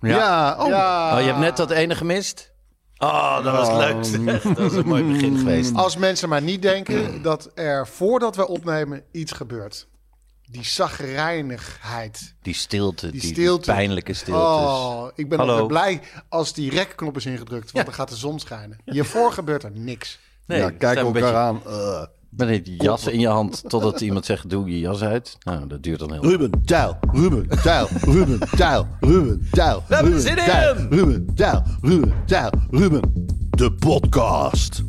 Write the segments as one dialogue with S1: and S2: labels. S1: Ja.
S2: oh.
S1: Oh, je hebt net dat ene gemist? Oh, dat was leuk. zeg. Dat was een mooi begin geweest.
S2: Als mensen maar niet denken dat er voordat we opnemen iets gebeurt. Die zagrijnigheid.
S1: Die stilte, die,
S2: Die stilte.
S1: pijnlijke stiltes.
S2: Oh, ik ben
S1: Hallo.
S2: altijd blij als die rekknop is ingedrukt, want dan gaat de zon schijnen. Hiervoor gebeurt er niks.
S1: Nee,
S3: ja,
S1: ik sta
S3: kijk
S1: een
S3: elkaar
S1: beetje
S3: aan. Eh,
S1: Met een jas in je hand, totdat iemand zegt, doe je jas uit. Nou, dat duurt dan heel lang.
S3: Ruben, Tijl, Ruben, Tijl, Ruben, Tijl, Ruben, Tijl,
S1: hebben
S3: Ruben,
S1: zin in!
S3: Tijl, Ruben, Tijl, Ruben, Tijl, Ruben. De podcast.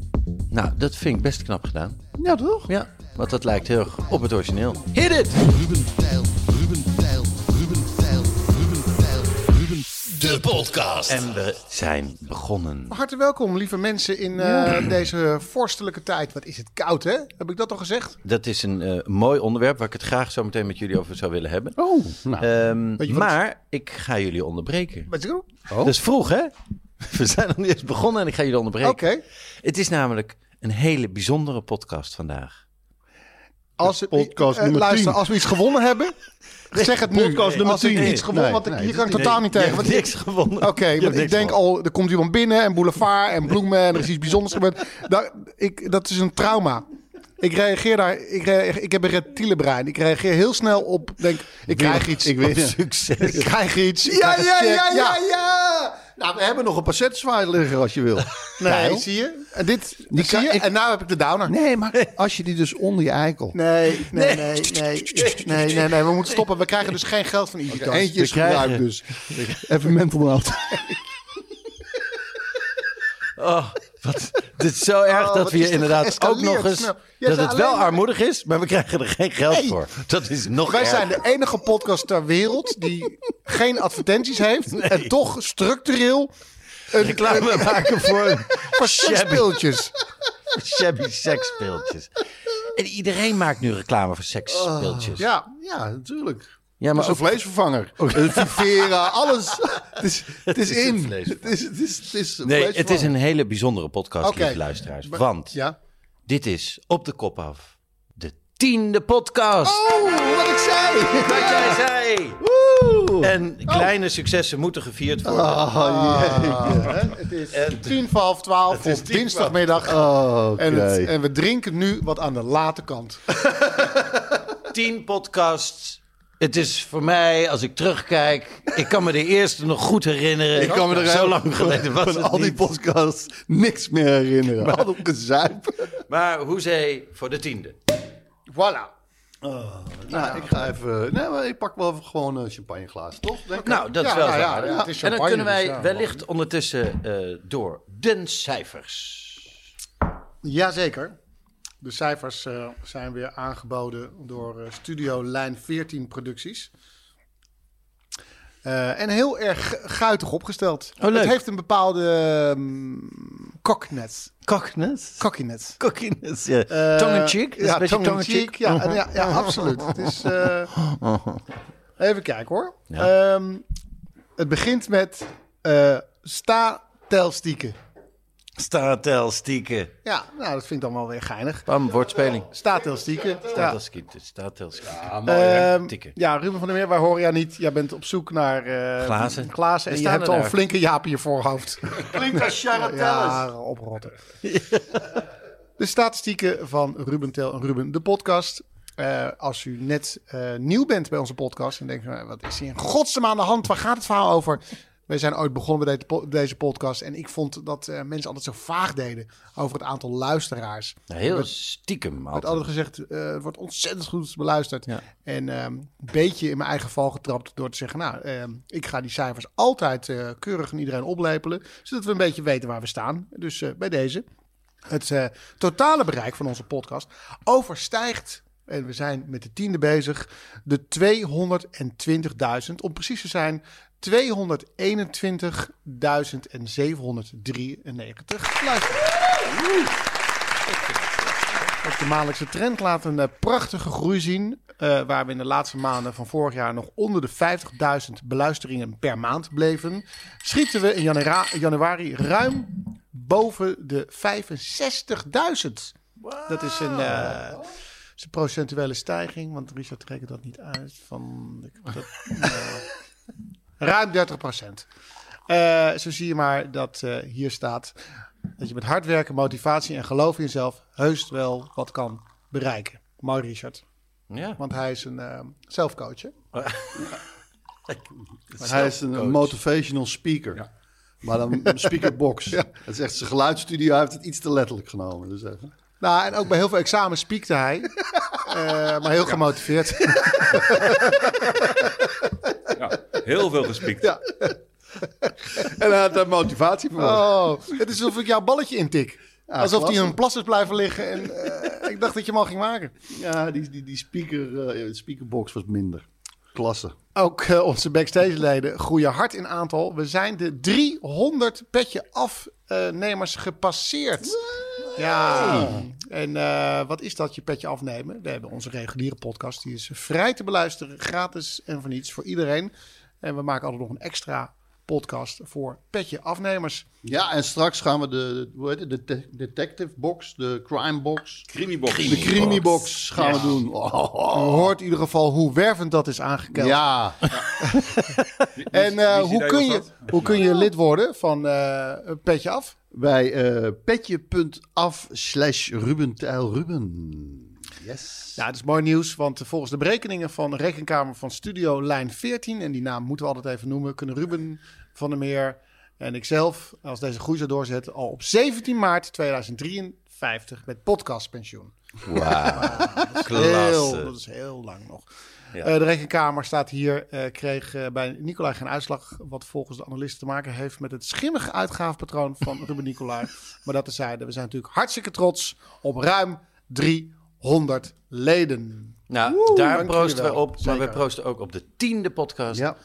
S1: Nou, dat vind ik best knap gedaan.
S3: Ja, toch?
S1: Ja, want dat lijkt heel erg op het origineel. Hit it!
S3: Ruben, Tijl, Ruben, Tijl, Ruben, Tijl, Ruben, Tijl, Ruben. De podcast.
S1: En we zijn begonnen.
S2: Hartelijk welkom, lieve mensen, in eh, deze vorstelijke tijd. Wat is het koud, hè? Heb ik dat al gezegd?
S1: Dat is een eh, mooi onderwerp waar ik het graag zo meteen met jullie over zou willen hebben.
S3: Oh, nou.
S1: Ehm,
S2: Weet je wat-
S1: maar ik ga jullie onderbreken.
S2: Weet je wel?
S1: Dat is vroeg, hè? We zijn nog niet eens begonnen en ik ga jullie
S2: Oké.
S1: onderbreken. Het is namelijk een hele bijzondere podcast vandaag.
S2: Als,
S3: podcast
S2: eh,
S3: nummer
S2: luister,
S3: 10.
S2: als we iets gewonnen hebben, zeg het nu.
S3: podcast nummer
S2: als ik
S3: 10.
S2: iets gewonnen,
S3: Nee,
S2: want ik,
S3: nee,
S2: hier
S3: dit
S2: kan ik totaal niet
S1: Je
S2: tegen.
S1: hebt
S2: want ik-
S1: niks gewonnen.
S2: Oké, want ik denk al, er komt iemand binnen en boulevard en bloemen en er is iets bijzonders gebeurd. Daar- ik, dat is een trauma. Ik reageer daar, ik, reageer, ik heb een reptiele brein. Ik reageer heel snel op, denk, ik krijg iets.
S3: ik weet het.
S1: Succes.
S2: Ik krijg iets. ik
S3: Ja,
S2: krijg
S3: ja,
S2: een check,
S3: ja, ja, ja. Nou, we hebben nog een passettezwaai liggen als je wil.
S2: Nee,
S3: Tijl.
S2: zie je? En dit,
S3: Die
S2: zie
S3: kan-
S2: je?
S3: ik-
S2: En nou heb ik de downer.
S3: Nee, maar als je die dus onder je eikel...
S2: Nee, nee, nee, nee, nee, nee, nee, we moeten stoppen. We krijgen dus geen geld van iedereen.
S3: Eentje is
S1: we krijgen-
S3: gebruikt dus. Even mental note.
S1: Oh, wat, dit is zo erg
S2: Oh,
S1: dat
S2: wat
S1: we hier
S2: is dit
S1: inderdaad ook
S2: geëscaleerd
S1: nog eens...
S2: snel. Jij
S1: Dat
S2: zei
S1: het wel
S2: alleen maar-
S1: armoedig is, maar we krijgen er geen geld voor. Dat is nog
S2: Wij
S1: erger.
S2: zijn de enige podcast ter wereld die geen advertenties heeft en toch structureel een,
S1: reclame maken voor
S2: voor seksspeeltjes.
S1: shabby seksspeeltjes. En iedereen maakt nu reclame voor seksspeeltjes.
S2: Oh. Ja.
S3: Ja, natuurlijk.
S1: Ja, maar
S3: het is een vleesvervanger. Een Vivera, alles. Het is, het is
S1: is een
S3: in. Het
S1: vleesvervanger.
S3: is, het is, het is een
S1: nee, het
S3: vleesvervanger.
S1: is een hele bijzondere podcast,
S2: Oké.
S1: lieve luisteraars. Want
S2: Ja.
S1: dit is Op de Kop Af, de tiende podcast.
S3: Oh, wat ik zei!
S1: Wat jij zei!
S3: Woe!
S1: En
S2: Oh.
S1: kleine successen moeten gevierd worden.
S3: Oh, jee.
S2: Het is tien voor half twaalf op dinsdagmiddag.
S3: Oh, oké.
S2: En, het- en we drinken nu wat aan de late kant.
S1: Tien podcasts. Het is voor mij, als ik terugkijk, ik kan me de eerste nog goed herinneren.
S3: Ik kan me er
S1: zo
S3: heel-
S1: lang geleden was
S3: van
S1: het
S3: al die
S1: niet.
S3: podcasts niks meer herinneren. Maar... Al op gezuip.
S1: Maar hoezee voor de tiende.
S2: Voilà.
S3: Nou, ik ga even... Nee, maar ik pak wel even gewoon een champagneglaas, toch? Denk ik?
S1: Nou, dat
S2: Ja,
S1: is wel
S2: nou
S1: zo
S2: ja,
S1: aardig.
S2: ja, het is
S1: En dan
S2: champagne,
S1: kunnen wij
S2: dus ja.
S1: wellicht ondertussen eh, door de cijfers.
S2: Jazeker. De cijfers eh, zijn weer aangeboden door eh, Studio Lijn 14 Producties. Eh, en heel erg gu- guitig opgesteld.
S1: Oh, leuk.
S2: Het heeft een bepaalde ehm cocknet.
S1: Kokkenes.
S2: Cockinet.
S1: Kokkenes, ja.
S2: Eh,
S1: Tong in cheek. Uh-huh.
S2: Ja, tong in cheek. Ja, en ja, ja, absoluut. Het is, eh, even kijken hoor. Ehm, het begint met eh statelstieken.
S1: Statel, stieken.
S2: Ja, nou, dat vind ik dan wel weer geinig.
S1: Bam, woordspeling.
S2: Statelstieken. Ja.
S1: Statel, stieken. Statel, stieken.
S2: Ehm,
S1: Tikken.
S2: ja, Ruben van der Meer, wij horen jou niet. Jij bent op zoek naar eh,
S1: Glazen.
S2: glazen
S1: We
S2: en je
S1: staan
S2: hebt
S1: er
S2: al een
S1: daar.
S2: flinke jaap in je voorhoofd.
S3: Klinkt als Charatellis.
S2: ja, oprotten. de statistieken van Ruben Tel en Ruben, de podcast. Eh, als u net eh, nieuw bent bij onze podcast en denkt, nou, wat is hier in godsnaam aan de hand? Waar gaat het verhaal over? We zijn ooit begonnen bij deze po- deze podcast en ik vond dat eh, mensen altijd zo vaag deden over het aantal luisteraars.
S1: Nou, heel stiekem
S2: Het
S1: altijd.
S2: altijd gezegd, eh, het wordt ontzettend goed beluisterd.
S1: Ja.
S2: En ehm, een beetje in mijn eigen val getrapt door te zeggen... nou, ehm, ik ga die cijfers altijd eh, keurig aan iedereen oplepelen... zodat we een beetje weten waar we staan. Dus eh, bij deze. Het eh, totale bereik van onze podcast overstijgt... en we zijn met de tiende bezig... de 220.000. Om precies te zijn... 221.793 luisteraars. Op de maandelijkse trend laat een eh, prachtige groei zien. eh, waar we in de laatste maanden van vorig jaar nog onder de 50.000 beluisteringen per maand bleven. Schieten we in janera- januari ruim boven de 65.000. Dat is een, eh, is een procentuele stijging, want Richard trekt dat niet uit. Van, ik- dat, eh, Ruim 30 procent. Eh, zo zie je maar dat eh, hier staat dat je met hard werken, motivatie en geloof in jezelf heus wel wat kan bereiken. Mooi Richard,
S1: Ja.
S2: want hij is een eh, zelfcoach. hè?
S3: Hij is een motivational speaker. Maar dan een speakerbox. Het is echt zijn geluidsstudio. Hij heeft het iets te letterlijk genomen. Dus even.
S2: Nou, en ook bij heel veel examens piekte hij, Eh, maar heel gemotiveerd.
S4: Ja, heel veel gespiekt.
S3: En hij had daar motivatie voor.
S2: Oh, het is alsof ik jouw balletje intik.
S3: Ja,
S2: Alsof die
S3: klasse.
S2: in een plas is blijven liggen en eh, ik dacht dat je hem al ging maken.
S3: Ja, die, die, die speaker, eh, speakerbox was minder. Klasse.
S2: Ook eh, onze backstage-leden groeien hard in aantal. We zijn de 300 petje afnemers gepasseerd. Ja. En eh, wat is dat, je petje afnemen? We hebben onze reguliere podcast. Die is vrij te beluisteren, gratis en voor niets, voor iedereen. En we maken altijd nog een extra podcast voor petje afnemers.
S3: Ja, en straks gaan we de, de, hoe heet het, de te- detective box, de crime box,
S4: Creamybox.
S3: de crimi box gaan we doen. Oh,
S2: Je hoort in ieder geval hoe wervend dat is aangekeld.
S3: ja,
S2: En eh,
S4: wie is
S2: hoe,
S4: idee
S2: kun
S4: was
S2: je,
S4: dat?
S2: hoe kun je lid worden van eh, Petje Af?
S3: bij eh, petje.af slash Rubentijl Ruben. Yes.
S2: Ja, het is mooi nieuws, want volgens de berekeningen van de rekenkamer van Studio Lijn 14, en die naam moeten we altijd even noemen, kunnen Ruben van der Meer en ikzelf, als deze groei zou doorzetten, al op 17 maart 2053 met podcastpensioen. Heel, dat is heel lang nog. Eh, de rekenkamer staat hier, eh, kreeg eh, bij Nicolai geen uitslag, wat volgens de analisten te maken heeft met het schimmige uitgavenpatroon van Ruben Nicolai. Maar dat tezijde, we zijn natuurlijk hartstikke trots op ruim 300 leden.
S1: Nou, daar
S2: dankjewel.
S1: proosten we op.
S2: Zeker.
S1: Maar we proosten ook op de tiende podcast.
S3: Ja.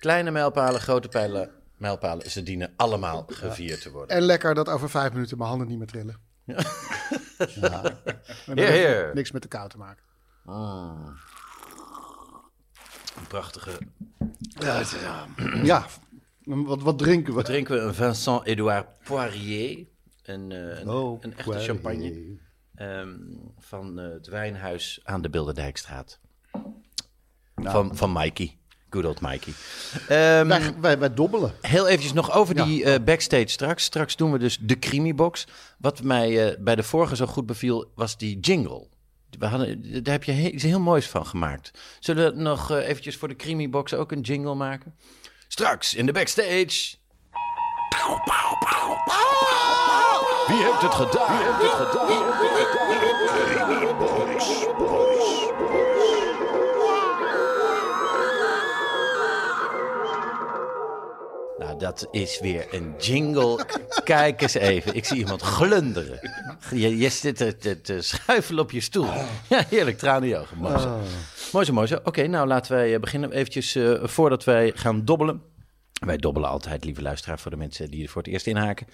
S1: Kleine mijlpalen, grote pijlen, mijlpalen. Ze dienen allemaal gevierd te worden.
S2: En lekker dat over vijf minuten mijn handen niet meer trillen. Ja.
S1: Heer, heer.
S2: Niks met de kou te maken.
S1: Een prachtige...
S3: Ja, en wat, wat drinken we?
S1: Drinken we een Vincent-Edouard Poirier. Een, eh, een,
S3: Oh,
S1: een echte
S3: Poirier.
S1: champagne. ehm, van eh, het wijnhuis aan de Bilderdijkstraat.
S3: Nou.
S1: Van, van Mikey. Good old Mikey. Ehm,
S3: Wij, wij, wij dobbelen.
S1: Heel eventjes nog over die eh, backstage straks. Straks doen we dus de Creamybox. Wat mij eh, bij de vorige zo goed beviel, was die jingle. We hadden, daar heb je he- iets heel moois van gemaakt. Zullen we nog eh, eventjes voor de Creamybox ook een jingle maken? Straks in de backstage. Wie heeft het gedaan? Wie heeft het gedaan? Nou, dat is weer een jingle. Kijk eens even. Ik zie iemand glunderen. Je, je zit te, te, te schuifelen op je stoel. Ja, heerlijk. Tranen in je ogen. Mooi zo. Mooi zo, mooi zo. Oké, nou laten wij eh, beginnen. Eventjes eh, voordat wij gaan dobbelen. Wij dobbelen altijd, lieve luisteraar, voor de mensen die er voor het eerst inhaken.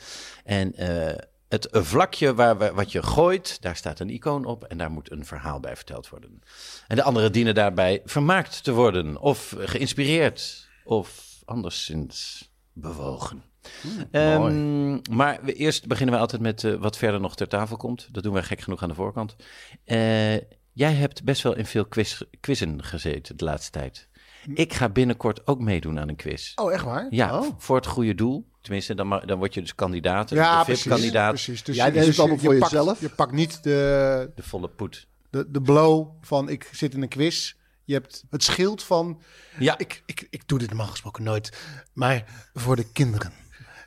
S1: En eh, het vlakje waar we, wat je gooit, daar staat een icoon op en daar moet een verhaal bij verteld worden. En de anderen dienen daarbij vermaakt te worden of geïnspireerd of anderszins bewogen. Ehm, maar we, eerst beginnen we altijd met eh, wat verder nog ter tafel komt. Dat doen wij gek genoeg aan de voorkant. Eh, jij hebt best wel in veel quiz, quizzen gezeten de laatste tijd. Ik ga binnenkort ook meedoen aan een quiz.
S2: Oh, echt waar?
S1: Ja, v- voor het goede doel. Tenminste, dan, ma- dan word je dus kandidaat. En
S2: Ja,
S1: de
S2: precies.
S1: VIP-kandidaat.
S2: precies. Dus
S3: Jij
S2: je-
S3: deed het
S2: je-
S3: allemaal
S2: je
S3: voor
S2: pakt-
S3: jezelf?
S2: Je pakt niet de,
S1: De volle poet.
S2: de, de blow van ik zit in een quiz. Je hebt het schild van
S1: Ja,
S2: Ik, ik, ik doe dit normaal gesproken nooit. Maar voor de kinderen.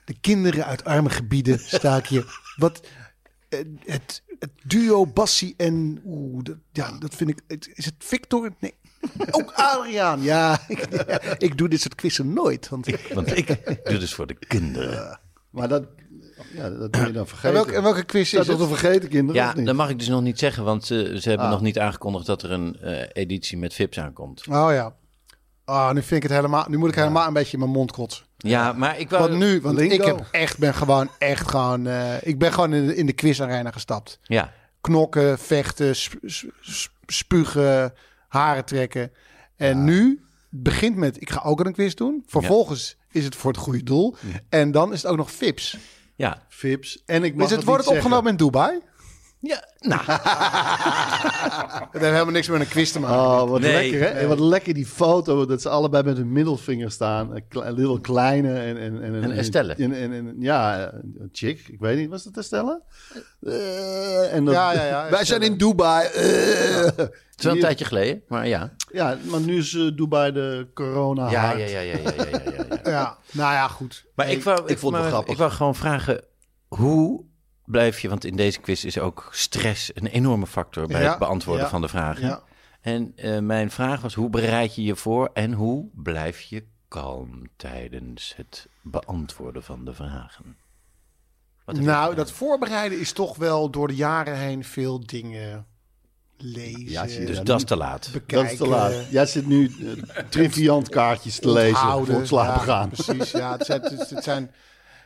S2: De kinderen uit arme gebieden sta ik hier. Wat, eh, het, het duo Bassi en... Oeh, dat, ja, dat vind ik... het- Is het Victor? Nee. Ook Adriaan. Ja, ik, ik doe dit soort quizzen nooit. Want,
S1: want ik doe dus voor de kinderen.
S3: Maar dat, ja, dat ben je dan vergeten.
S2: en, welke, en welke quiz
S3: Zijn
S2: is
S3: dat
S2: het?
S3: toch vergeten, kinderen?
S1: Ja,
S3: of niet?
S1: dat mag ik dus nog niet zeggen, want eh, ze, ze hebben
S3: Ah.
S1: nog niet aangekondigd dat er een eh, editie met VIP's aankomt.
S2: Oh ja. Ah, nu vind ik het helemaal... Nu moet ik helemaal een beetje in mijn mond kotsen.
S1: Ja, maar ik wou...
S2: Want nu, want ik
S3: Lingo.
S2: heb echt, ben gewoon echt gewoon... eh, ik ben gewoon in de, in de quizarena gestapt.
S1: Ja,
S2: knokken, vechten, sp- sp- sp- spugen, haren trekken. En nu begint met, ik ga ook een quiz doen. Vervolgens is het voor het goede doel. En dan is het ook nog FIPS.
S1: ja.
S3: Vips. En ik mag
S2: Dus het wordt
S3: niet
S2: opgenomen in Dubai.
S1: Ja, nou,
S2: Dat heeft helemaal niks meer met een quiz te maken.
S3: Oh, wat
S1: Nee.
S3: lekker, hè? En wat lekker die foto, dat ze allebei met hun middelvinger staan. Een, kle- een little kleine en... En, en,
S1: En Estelle.
S3: En, en, en- ja, een chick. Ik weet niet, was dat Estelle? Eh, en dat,
S2: Ja, ja, ja,
S3: Wij
S2: Estelle.
S3: zijn in Dubai. eh.
S1: het is wel een
S3: Hier-
S1: tijdje geleden, maar ja.
S3: Ja, maar nu is eh, Dubai de corona
S1: Ja,
S3: hard.
S1: ja, ja, ja, ja, ja, ja, ja, ja.
S2: Ja, nou ja, goed.
S1: Maar ik, wou,
S3: ik vond het wel
S1: maar-
S3: grappig.
S1: Ik wou gewoon vragen, hoe blijf je... Want in deze quiz is ook stress een enorme factor bij
S2: Ja,
S1: het beantwoorden
S2: ja,
S1: van de vragen.
S2: Ja.
S1: En eh, mijn vraag was, hoe bereid je je voor en hoe blijf je kalm tijdens het beantwoorden van de vragen? Wat heb je
S2: Nou,
S1: gedaan?
S2: dat voorbereiden is toch wel door de jaren heen veel dingen lezen.
S3: Ja, zie je,
S1: Dus
S3: ja,
S1: dat is te laat.
S3: Dat is te laat. Jij zit nu eh, triviant kaartjes te lezen voor het slapen
S2: ja,
S3: gaan.
S2: Precies, ja. Het, zijn, het, het zijn,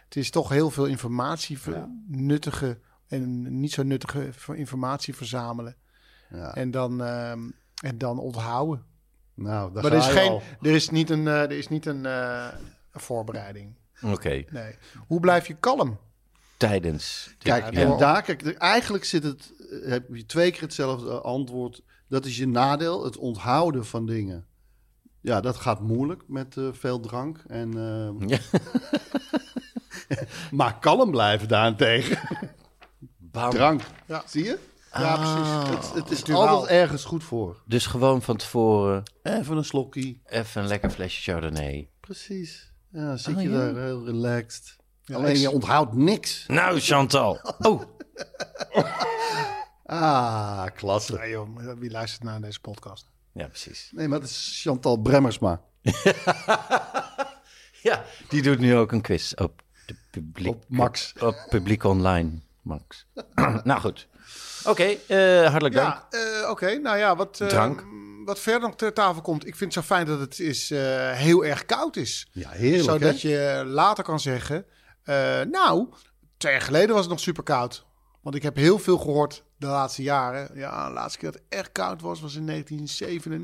S2: het is toch heel veel informatie, ver- nuttige en niet zo nuttige ver- informatie verzamelen.
S3: Ja.
S2: En, dan, ehm, en dan onthouden.
S3: Nou, daar
S2: Maar
S3: ga
S2: er is,
S3: je
S2: geen,
S3: al.
S2: er is niet een, eh, er is niet een eh, een voorbereiding.
S1: Oké,
S2: Nee. Hoe blijf je kalm?
S1: tijdens... dit-
S3: Kijk,
S2: Ja,
S3: en
S2: door-
S3: daar, kijk, er- eigenlijk zit het, eh, heb je twee keer hetzelfde eh, antwoord. Dat is je nadeel, het onthouden van dingen. Ja, dat gaat moeilijk met eh, veel drank. En, eh,
S1: Ja.
S3: maar kalm blijven daarentegen.
S1: Bam.
S3: Drank,
S2: Ja.
S3: zie je?
S2: Ja, precies.
S3: Het, het is
S2: Duraal.
S3: altijd ergens goed voor.
S1: Dus gewoon van tevoren
S3: Even een slokkie.
S1: even een lekker flesje Chardonnay.
S3: Precies. Ja, dan zit
S1: Oh,
S3: je
S1: ja.
S3: daar heel relaxed.
S2: Ja,
S3: Alleen
S2: ik-
S3: je onthoudt niks.
S1: Nou, Chantal. Oh,
S3: Ah, klasse.
S2: Nee, joh, maar wie luistert naar deze podcast?
S1: ja, precies.
S3: Nee, maar het is Chantal Bremmersma.
S1: Ja, die doet nu ook een quiz op de publiek.
S3: Op Max.
S1: Op eh, publiek online, Max. nou goed. Oké, eh, hartelijk dank.
S2: Ja, eh, oké. Nou ja, wat, eh,
S1: Drank.
S2: wat verder nog ter tafel komt. Ik vind het zo fijn dat het is, eh, heel erg koud is.
S3: Ja, heerlijk.
S2: Zodat je later kan zeggen, eh, nou, twee jaar geleden was het nog super koud. Want ik heb heel veel gehoord de laatste jaren. Ja, de laatste keer dat het echt koud was, was in 1997,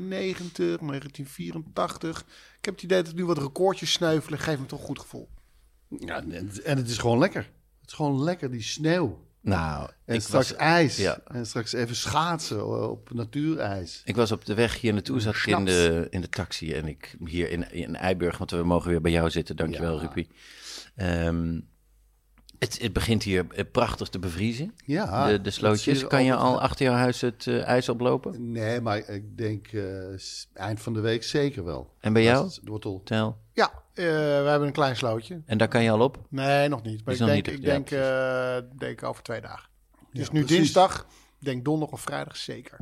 S2: 1984. Ik heb het idee dat nu wat recordjes sneuvelen. Geeft me toch een goed gevoel.
S3: Ja, en het- en het is gewoon lekker. Het is gewoon lekker, die sneeuw.
S1: Nou,
S3: En
S1: ik
S3: straks
S1: was,
S3: ijs.
S1: ja.
S3: En straks even schaatsen eh, op natuurijs.
S1: ik was op de weg hier naartoe, zat ik in
S3: Snaps.
S1: de, in de taxi. En ik hier in, in Eiburg, want we mogen weer bij jou zitten. Dankjewel,
S3: Ja.
S1: Rupi. Ehm, het, het begint hier eh, prachtig te bevriezen.
S3: Ja.
S1: de, de
S3: dat
S1: slootjes.
S3: zie
S1: Kan je
S3: altijd.
S1: al achter jouw huis het eh, ijs oplopen?
S3: Nee, maar ik denk eh, s- eind van de week zeker wel.
S1: En bij
S3: Als
S1: jou?
S3: Het wordt al...
S1: Tel.
S2: Ja, eh, we hebben een klein slootje.
S1: En daar kan je al op?
S2: Nee, nog niet. Maar
S1: Is
S2: ik
S1: nog
S2: denk, ik
S1: niet echt, ja,
S2: denk, eh, denk over twee dagen. Dus nu
S3: precies.
S2: dinsdag, ik denk donderdag of vrijdag zeker.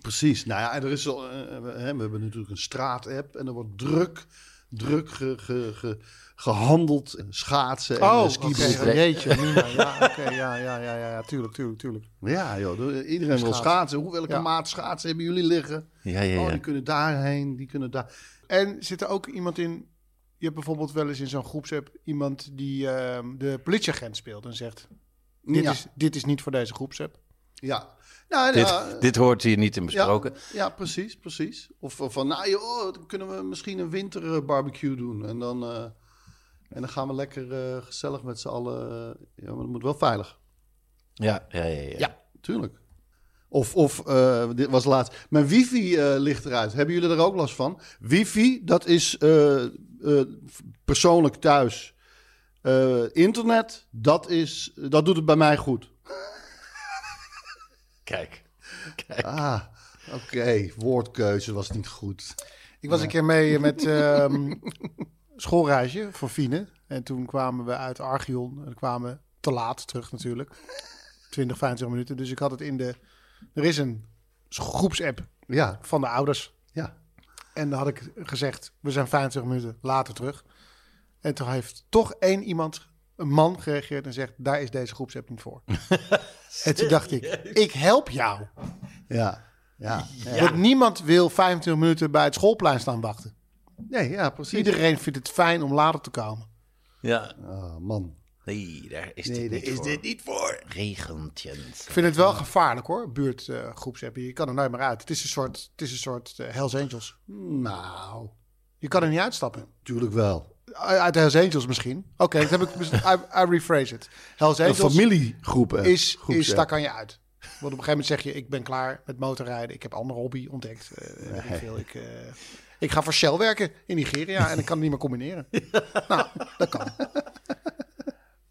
S3: Precies. Nou ja, en er is al, eh, we, hè, we hebben natuurlijk een straatapp en er wordt druk, druk ge, ge, ge- gehandeld. Eh, Schaatsen en eh,
S2: Oh, oké,
S3: skiboarden.
S2: jeetje. Mina, ja, oké, ja, ja, ja, ja, ja, tuurlijk, tuurlijk, tuurlijk.
S3: Ja, joh, de- iedereen wil
S2: Schaatsen.
S3: schaatsen. Hoe, welke
S2: Ja.
S3: maat schaatsen hebben jullie liggen?
S1: Ja, ja,
S3: Oh,
S1: ja.
S3: die kunnen daarheen, die kunnen daar.
S2: En zit er ook iemand in, je hebt bijvoorbeeld wel eens in zo'n groepsapp iemand die ehm, de politieagent speelt en zegt, dit,
S3: ja.
S2: is, dit is niet voor deze groepsapp.
S3: ja. Nou, ja,
S1: Dit, dit hoort hier niet in
S3: ja,
S1: besproken.
S3: ja, precies, precies. Of eh, van, nou joh, dan kunnen we misschien een winterbarbecue doen. En dan, eh, en dan gaan we lekker eh, gezellig met z'n allen. eh, ja, maar dat moet wel veilig.
S1: Ja, ja, ja. ja.
S3: Tuurlijk. Of, of eh, dit was laatst. Mijn wifi eh, ligt eruit. Hebben jullie er ook last van? Wifi, dat is eh, eh, persoonlijk thuis. Eh, internet, dat, is, dat doet het bij mij goed.
S1: Kijk.
S3: Ah, oké. Woordkeuze was niet goed.
S2: Ik was een keer mee eh, met ehm schoolreisje voor Fine. En toen kwamen we uit Archeon. En kwamen we te laat terug natuurlijk. 20, 25 minuten. Dus ik had het in de... Er is een groepsapp
S3: Ja,
S2: van de ouders.
S3: ja.
S2: En dan had ik gezegd, we zijn 25 minuten later terug. En toen heeft toch één iemand, een man, gereageerd en zegt... daar is deze groepsapp niet voor. en toen dacht ik, ik help jou.
S3: Ja, ja.
S2: Want niemand wil 25 minuten bij het schoolplein staan wachten.
S3: Nee, ja, precies.
S2: Iedereen vindt het fijn om later te komen.
S1: Ja.
S3: Ah, man.
S1: Nee, daar is
S3: Nee,
S1: dit
S3: daar
S1: niet
S3: is
S1: voor.
S3: dit
S1: niet voor. Regentjes.
S2: Ik vind het wel gevaarlijk hoor, buurtgroepsapp. je kan er nooit meer uit. Het is een soort, het is een soort eh, Hells Angels.
S3: Nou,
S2: Je kan er niet uitstappen.
S3: tuurlijk wel.
S2: Uit de Hells Angels misschien. Oké, dat heb ik. mis- I, I rephrase it. Hells
S3: Een
S2: Angels
S3: familiegroep. eh,
S2: is,
S3: groep,
S2: is,
S3: eh.
S2: daar kan je uit. Want op een gegeven moment zeg je, ik ben klaar met motorrijden. Ik heb andere hobby ontdekt. eh, weet ik veel. Ik, eh, ik ga voor Shell werken in Nigeria en ik kan het niet meer combineren. nou, dat kan.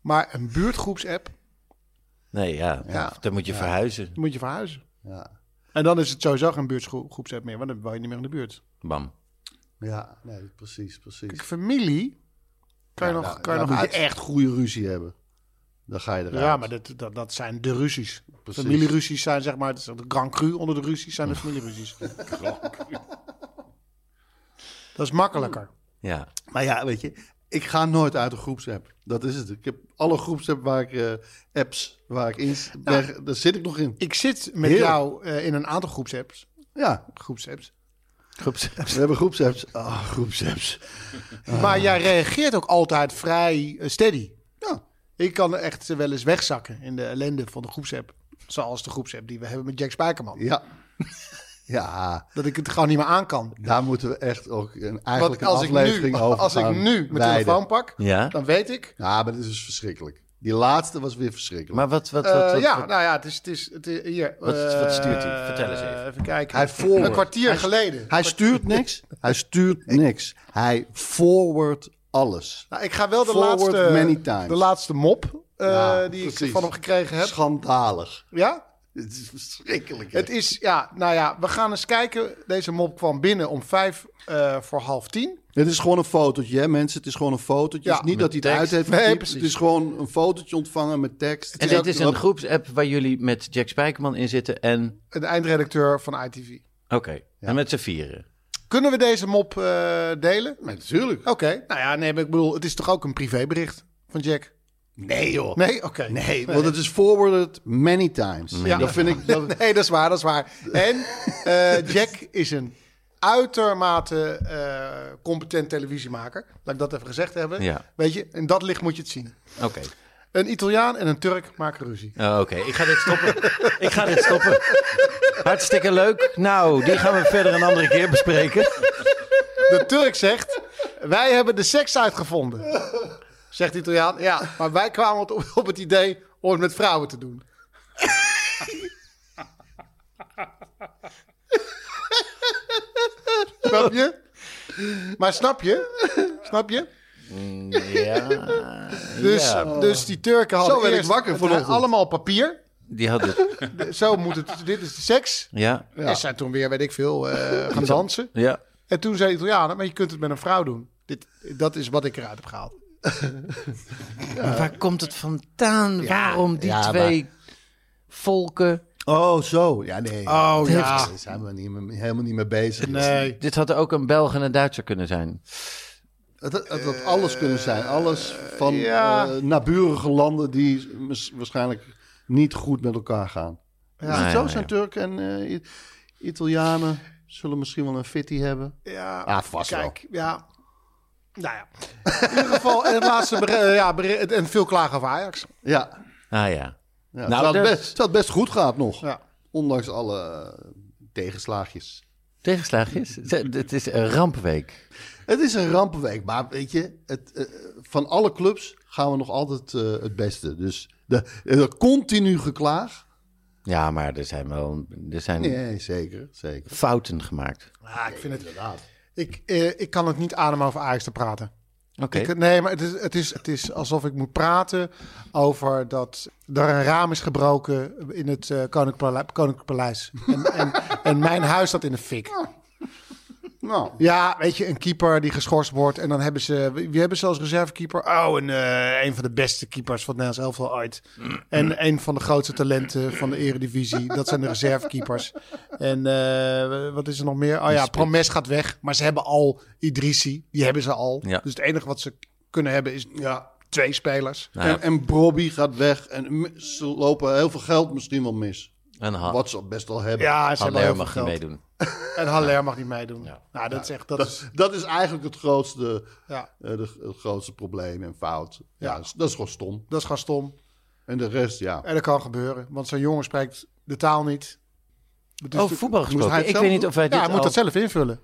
S2: Maar een buurtgroepsapp
S1: Nee, ja.
S2: Ja.
S1: Dan moet je verhuizen.
S2: moet je verhuizen.
S3: Ja,
S2: En dan is het sowieso geen buurtgroepsapp meer, want dan woon je niet meer in de buurt.
S1: Bam.
S3: ja nee, precies, precies.
S2: Kijk, familie kan je
S3: Ja,
S2: nog,
S3: nou,
S2: kan je
S3: dan
S2: nog
S3: moet
S2: uit...
S3: je echt goede ruzie hebben. Dan ga je eruit.
S2: Ja, maar dat, dat, dat zijn de ruzies.
S3: Precies.
S2: Familieruzies zijn zeg maar, het is de Grand Cru onder de ruzies zijn de familieruzies. dat is makkelijker.
S1: Ja.
S3: Maar ja, weet je, ik ga nooit uit een groepsapp. Dat is het. Ik heb alle groepsapp waar ik eh, apps waar ik in ben, daar zit ik nog in.
S2: Ik zit met
S3: Heel.
S2: jou eh, in een aantal groepsapps.
S3: Ja,
S2: groepsapps.
S3: we hebben groepsapps. Ah, groepsapps.
S2: Maar jij reageert ook altijd vrij eh, steady.
S3: Ja.
S2: Ik kan echt eh, wel eens wegzakken in de ellende van de groepsapp. Zoals de groepsapp die we hebben met Jack Spijkerman.
S3: Ja. Ja,
S2: Dat ik het gewoon niet meer aan kan.
S3: daar moeten we echt ook een,
S2: Want
S3: eigenlijk een
S2: als ik, nu,
S3: aflevering over
S2: als ik
S3: gaan
S2: nu mijn
S3: wijden.
S2: telefoon pak,
S1: Ja.
S2: dan weet ik
S3: Ja, maar dit is dus verschrikkelijk. Die laatste was weer verschrikkelijk.
S1: Maar wat, wat, wat,
S2: Eh,
S1: wat-
S2: ja,
S1: wat-
S2: nou ja, het is, het is, het is hier.
S1: Wat-
S2: eh,
S1: wat stuurt hij? Vertel eens even.
S2: Even kijken.
S3: Hij forward.
S2: Een kwartier
S3: Hij-
S2: geleden.
S3: Hij stuurt niks. Hij stuurt niks. Hij forward alles.
S2: Nou, ik ga wel de
S3: Forward
S2: laatste,
S3: many times.
S2: de laatste mop eh,
S3: Ja,
S2: die ik
S3: precies.
S2: van hem gekregen heb.
S3: Schandalig.
S2: Ja?
S3: Het is verschrikkelijk. hè?
S2: Het is, ja, nou ja, we gaan eens kijken. Deze mop kwam binnen om vijf eh, voor half tien.
S3: Het is gewoon een fotootje, hè, mensen. Het is gewoon een fotootje.
S2: Ja,
S3: het is niet dat hij het
S1: tekst.
S3: uit heeft
S2: Nee,
S3: getypt.
S2: precies.
S3: Het is gewoon een fotootje ontvangen met tekst.
S1: En dit is een groepsapp waar jullie met Jack Spijkerman in zitten en...
S2: Een eindredacteur van ITV.
S1: Oké, en met z'n vieren.
S2: Kunnen we deze mop eh, delen?
S3: Ja, Natuurlijk.
S2: Oké, nou ja, nee, maar ik bedoel, het is toch ook een privébericht van Jack?
S3: Nee, joh.
S2: Nee? Oké.
S3: Nee, want het is forwarded many times.
S2: Ja.
S3: Dat vind ik... Dat,
S2: Nee, dat is waar, dat is waar. En eh, Jack is een uitermate eh, competent televisiemaker. Laat ik dat even gezegd hebben.
S1: Ja.
S2: Weet je, in dat licht moet je het zien.
S1: Oké,
S2: Een Italiaan en een Turk maken ruzie.
S1: Oh, oké. ik ga dit stoppen. ik ga dit stoppen. Hartstikke leuk. Nou, die gaan we verder een andere keer bespreken.
S2: De Turk zegt, wij hebben de seks uitgevonden. Zegt de Italiaan, ja, maar wij kwamen op, op het idee om het met vrouwen te doen. Snap je? Maar snap je? Snap je?
S1: Ja,
S2: Dus,
S1: ja.
S2: dus die Turken hadden
S3: Zo werd ik
S2: eerst-
S3: wakker
S2: het
S3: vanochtend.
S2: waren allemaal papier.
S1: die had het.
S2: De- Zo moet het. Dit is de seks.
S1: Ja,
S2: En ze zijn toen weer, weet ik veel, eh, gaan dansen.
S1: ja.
S2: En toen zei de Italianen, maar je kunt het met een vrouw doen. Dit, dat is wat ik eruit heb gehaald.
S1: Maar waar komt het vandaan? Waarom die
S3: ja, maar-
S1: twee volken?
S3: oh, zo. Ja, nee.
S2: Oh ja.
S3: Daar zijn we niet mee- helemaal niet mee bezig.
S2: Nee.
S1: Dit had ook een Belg en een Duitser kunnen zijn.
S3: Het, het, het had alles kunnen zijn. Alles van
S2: ja.
S3: eh, naburige landen die mis- waarschijnlijk niet goed met elkaar gaan. Is het
S1: Nee,
S3: zo?
S1: nee.
S3: zijn Turken en eh, I- Italianen zullen misschien wel een fitty hebben.
S2: Ja,
S3: Ah, vast wel.
S2: Kijk, ja. Nou ja. In ieder geval, en het laatste, ber- eh, ja, ber- het- en veel klagen over Ajax.
S3: Ja.
S1: Ah ja.
S3: ja.
S1: Nou,
S3: Nou, het, had
S1: dat-
S3: best, het had best goed gehad nog.
S2: Ja.
S3: Ondanks alle eh, tegenslaagjes.
S1: Tegenslaagjes? Het het is een rampweek.
S3: Het is een rampenweek, maar weet je, het, eh, van alle clubs gaan we nog altijd eh, het beste. Dus de, de continu geklaag.
S1: Ja, maar er zijn wel er zijn
S3: Nee, zeker, zeker.
S1: fouten gemaakt.
S2: Ja, Ah, ik vind het... Ik, eh, ik kan het niet ademen over Ajax te praten.
S1: Oké.
S2: Ik- eh, nee, maar het is, het, is, het is alsof ik moet praten over dat er een raam is gebroken in het eh, Koninklijk Paleis. Koninklijk Paleis. En, en, en mijn huis staat in de fik.
S3: Nou,
S2: Ja, weet je, een keeper die geschorst wordt. En dan hebben ze, wie hebben ze als reservekeeper? Oh, een, eh, een van de beste keepers van het Nederlands elftal ooit. En een van de grootste talenten van de eredivisie. Dat zijn de reservekeepers. En eh, wat is er nog meer? Oh ja, Promes gaat weg. Maar ze hebben al Idrissi. Die hebben ze al.
S1: Ja.
S2: Dus het enige wat ze kunnen hebben is ja, twee spelers.
S1: Nou ja,
S3: en, en Brobby gaat weg en m- ze lopen heel veel geld misschien wel mis.
S1: en ha
S3: Wat ze best wel hebben.
S2: Ja, ze hebben al
S1: Haller
S2: heel
S1: mag
S2: veel
S1: niet
S2: geld.
S1: meedoen.
S2: En Haller mag niet meedoen. Nou, dat is echt... Dat is,
S3: Dat is eigenlijk het grootste,
S2: ja,
S3: eh, de, het grootste probleem en fout. Ja,
S2: Ja.
S3: dat is- dat is gewoon stom.
S2: dat is gewoon stom.
S3: En de rest, ja.
S2: En dat kan gebeuren. Want zo'n jongen spreekt de taal niet. Dus
S1: Oh,
S2: de-
S1: voetbal
S3: hij
S1: gesproken.
S3: het
S1: Ik
S3: zelf
S1: weet niet
S3: doen?
S1: of wij
S2: Ja,
S1: dit
S2: hij moet
S1: al-
S2: dat zelf invullen.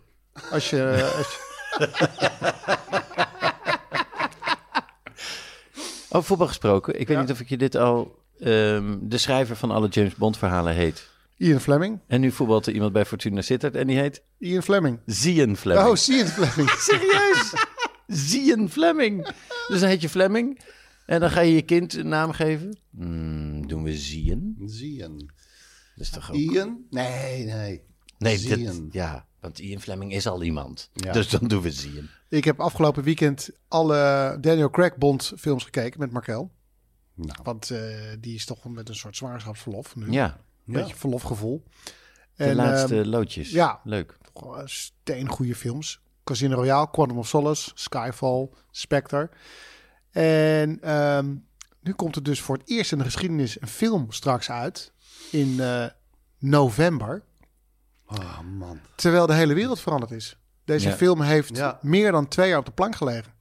S2: Als je, eh, als je-
S1: Oh, voetbal gesproken. Ik weet niet of ik je dit al ehm, de schrijver van alle James Bond verhalen heet.
S2: Ian Fleming.
S1: En nu voetbalt er iemand bij Fortuna Sittard en die heet
S2: Ian Fleming.
S1: Zian Fleming.
S2: Oh, Ian Fleming.
S1: Serieus? Zian Fleming. Dus dan heet je Fleming. En dan ga je je kind een naam geven. Hmm, doen we Zian?
S3: Zien.
S1: Dat is toch ook...
S3: Ian? Nee, nee.
S1: Nee, dit,
S3: Zian.
S1: ja, want Ian Fleming is al iemand.
S3: Ja.
S1: Dus dan doen we Zian.
S2: Ik heb afgelopen weekend alle Daniel Craig Bond films gekeken met Markel.
S3: Nou.
S2: Want eh, die is toch met een soort zwangerschapsverlof nu.
S1: Ja,
S2: Een beetje verlofgevoel.
S1: de
S2: En,
S1: laatste
S2: ehm,
S1: loodjes.
S2: ja.
S1: Leuk.
S2: Gewoon steengoede films. Casino Royale, Quantum of Solace, Skyfall, Spectre. En ehm, nu komt er dus voor het eerst in de geschiedenis een film straks uit in eh, november.
S3: Oh, man.
S2: Terwijl de hele wereld veranderd is. Deze
S1: Ja.
S2: film heeft
S3: Ja.
S2: meer dan twee jaar op de plank gelegen.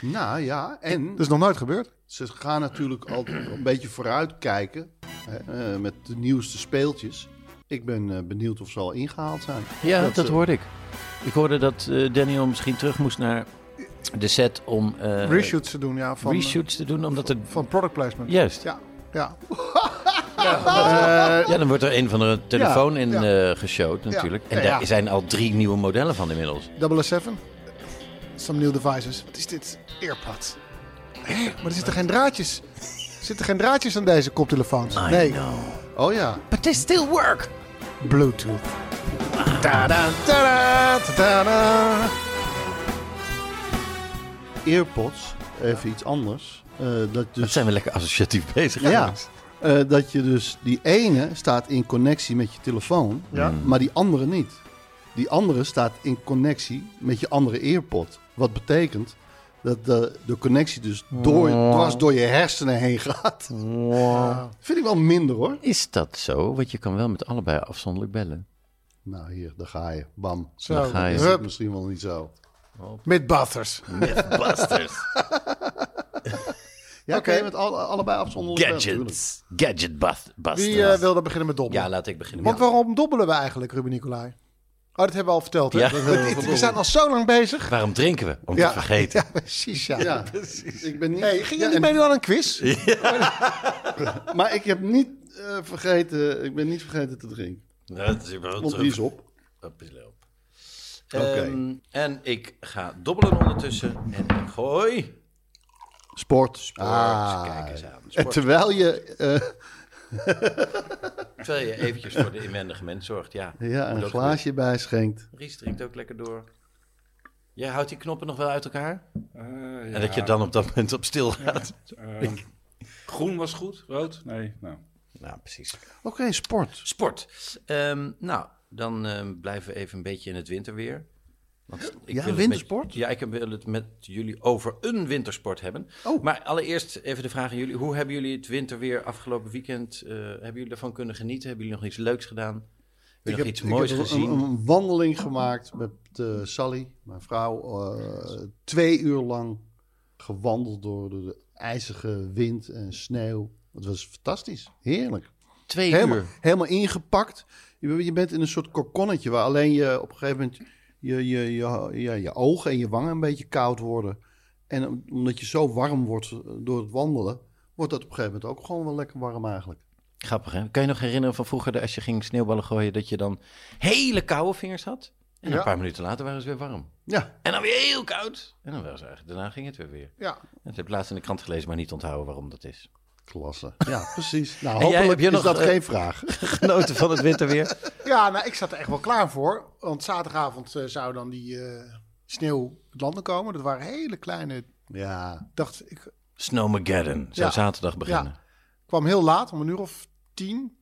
S3: Nou ja, en
S2: Dat is nog nooit gebeurd.
S3: ze gaan natuurlijk al een beetje vooruitkijken hè, eh, met de nieuwste speeltjes. Ik ben eh, benieuwd of ze al ingehaald zijn.
S1: Ja, dat,
S3: eh,
S1: hoorde ik. Ik hoorde dat eh, Daniel misschien terug moest naar de set om eh,
S2: Reshoots te doen, ja. Van,
S1: reshoots te doen. Omdat het...
S2: eh, van product placement.
S1: Juist.
S2: Ja, ja.
S1: Ja, dan wordt er een van de telefoon in
S2: ja.
S1: eh, geshowt natuurlijk. En
S2: Ja,
S1: daar
S2: ja.
S1: zijn al drie nieuwe modellen van inmiddels.
S2: 007. Some new devices. Wat is dit? Earpad. Hé, maar er zitten geen draadjes. Er zitten geen draadjes aan deze koptelefoons.
S1: I
S2: nee,
S1: know.
S3: Oh ja.
S1: But they still work.
S2: Bluetooth. Tada, tada, tada.
S3: Earpods, even iets anders. Eh, dat
S1: Dat
S3: dus,
S1: zijn we lekker associatief bezig.
S3: ja, eh, dat je dus die ene staat in connectie met je telefoon,
S2: Ja.
S3: maar die andere niet. Die andere staat in connectie met je andere earpod. Wat betekent dat de, de connectie dus door, dwars door je hersenen heen gaat. Vind ik wel minder hoor.
S1: Is dat zo? Want je kan wel met allebei afzonderlijk bellen.
S3: Nou hier, daar ga je. Bam.
S2: Zo,
S1: ga je.
S3: Is
S2: hup,
S3: dat misschien wel niet zo.
S2: met butters.
S1: Mythbusters.
S3: Ja,
S2: Oké.
S3: oké, met alle, allebei afzonderlijk. wel, natuurlijk.
S1: Gadgets. Gadgetbusters.
S2: Wie eh, wil dan beginnen met dobbelen?
S1: Ja, laat ik beginnen.
S2: Want waarom dobbelen we eigenlijk, Ruben Nicolai? Oh, dat hebben we al verteld, hè?
S1: Ja.
S2: Dat- dat- we zijn al zo lang bezig.
S1: Waarom drinken we? Om
S2: Ja.
S1: te vergeten.
S2: Ja, precies, ja.
S3: Ja, ik ben niet...
S2: Hey, ging
S3: Ja,
S2: jullie
S3: en-
S2: meedoen aan een quiz?
S3: Maar ik heb niet eh, vergeten, ik ben niet vergeten te drinken.
S1: Nou, Dat is überhaupt
S3: Want
S1: zo.
S3: die is op.
S1: Op is loop.
S3: Oké.
S1: Ehm, en ik ga dobbelen ondertussen. En ik gooi.
S3: Sport.
S1: Ah, kijk eens aan.
S3: En terwijl je... eh,
S1: Terwijl je eventjes voor de inwendige mens zorgt. Ja,
S3: ja,
S1: Moet
S3: een
S1: ook
S3: glaasje bij schenkt.
S1: goed. Ries drinkt ook lekker door. Jij houdt die knoppen nog wel uit elkaar?
S4: Eh,
S1: En dat je
S4: ja,
S1: dan op dat moment op stil gaat.
S4: ehm, groen was goed, rood? Nee, nou.
S1: Nou, precies.
S3: Oké, sport.
S1: Sport. Ehm, nou, dan ehm, blijven we even een beetje in het winterweer. Want ik wil het
S3: wintersport?
S1: met- ja, ik wil het met jullie over een wintersport hebben.
S3: Oh.
S1: Maar allereerst even de vraag aan jullie. Hoe hebben jullie het winterweer afgelopen weekend? eh, hebben jullie ervan kunnen genieten? Hebben jullie nog iets leuks gedaan? Hebben jullie nog iets moois
S3: ik heb
S1: gezien?
S3: Een, een wandeling gemaakt met eh, Sally, mijn vrouw. eh, twee uur lang gewandeld door de, de ijzige wind en sneeuw. Het was fantastisch. Heerlijk.
S1: Twee
S3: Helemaal,
S1: uur.
S3: helemaal ingepakt. Je, je bent in een soort kokonnetje waar alleen je op een gegeven moment je, je, je, ja, je ogen en je wangen een beetje koud worden. En om- omdat je zo warm wordt eh, door het wandelen, wordt dat op een gegeven moment ook gewoon wel lekker warm eigenlijk.
S1: Grappig, hè? Kan je nog herinneren van vroeger, dat als je ging sneeuwballen gooien, dat je dan hele koude vingers had? En
S2: Ja.
S1: een paar minuten later waren ze weer warm.
S3: Ja,
S1: En dan weer heel koud. En dan waren ze eigenlijk, daarna ging het weer weer.
S2: Ja.
S1: Dat heb ik laatst in de krant gelezen, maar niet onthouden waarom dat is.
S3: klasse. Ja, precies. Nou,
S1: jij, heb
S3: hopelijk
S1: je
S3: is
S1: nog,
S3: dat
S1: eh,
S3: geen vraag.
S1: Genoten van het winterweer.
S2: Ja, nou, ik zat er echt wel klaar voor. Want zaterdagavond eh, zou dan die eh, sneeuw het landen komen. Dat waren hele kleine...
S3: Ja,
S2: Dacht, ik
S1: Snowmageddon zou
S2: Ja.
S1: zaterdag beginnen.
S2: kwam heel laat, om een uur of tien.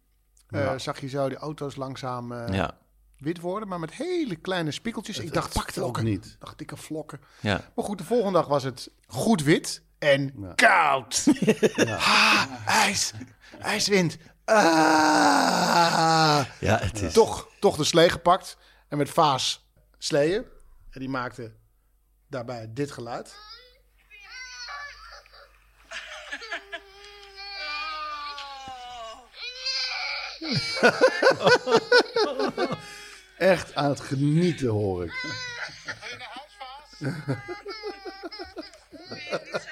S2: eh,
S3: Ja.
S2: Zag je zo die auto's langzaam eh,
S1: Ja. ja.
S2: wit worden. Maar met hele kleine spiekeltjes. ik dacht, pak
S3: ook
S2: vlokken.
S3: niet.
S2: Ik dacht, dikke vlokken. Maar goed, de volgende dag was het goed wit en
S3: Ja.
S2: koud. Ah, ijs, ijswind. Ah.
S1: Ja, het is.
S2: toch, toch de slee gepakt. En met Vaas sleeën. En die maakte daarbij dit geluid.
S3: Echt aan het genieten hoor ik.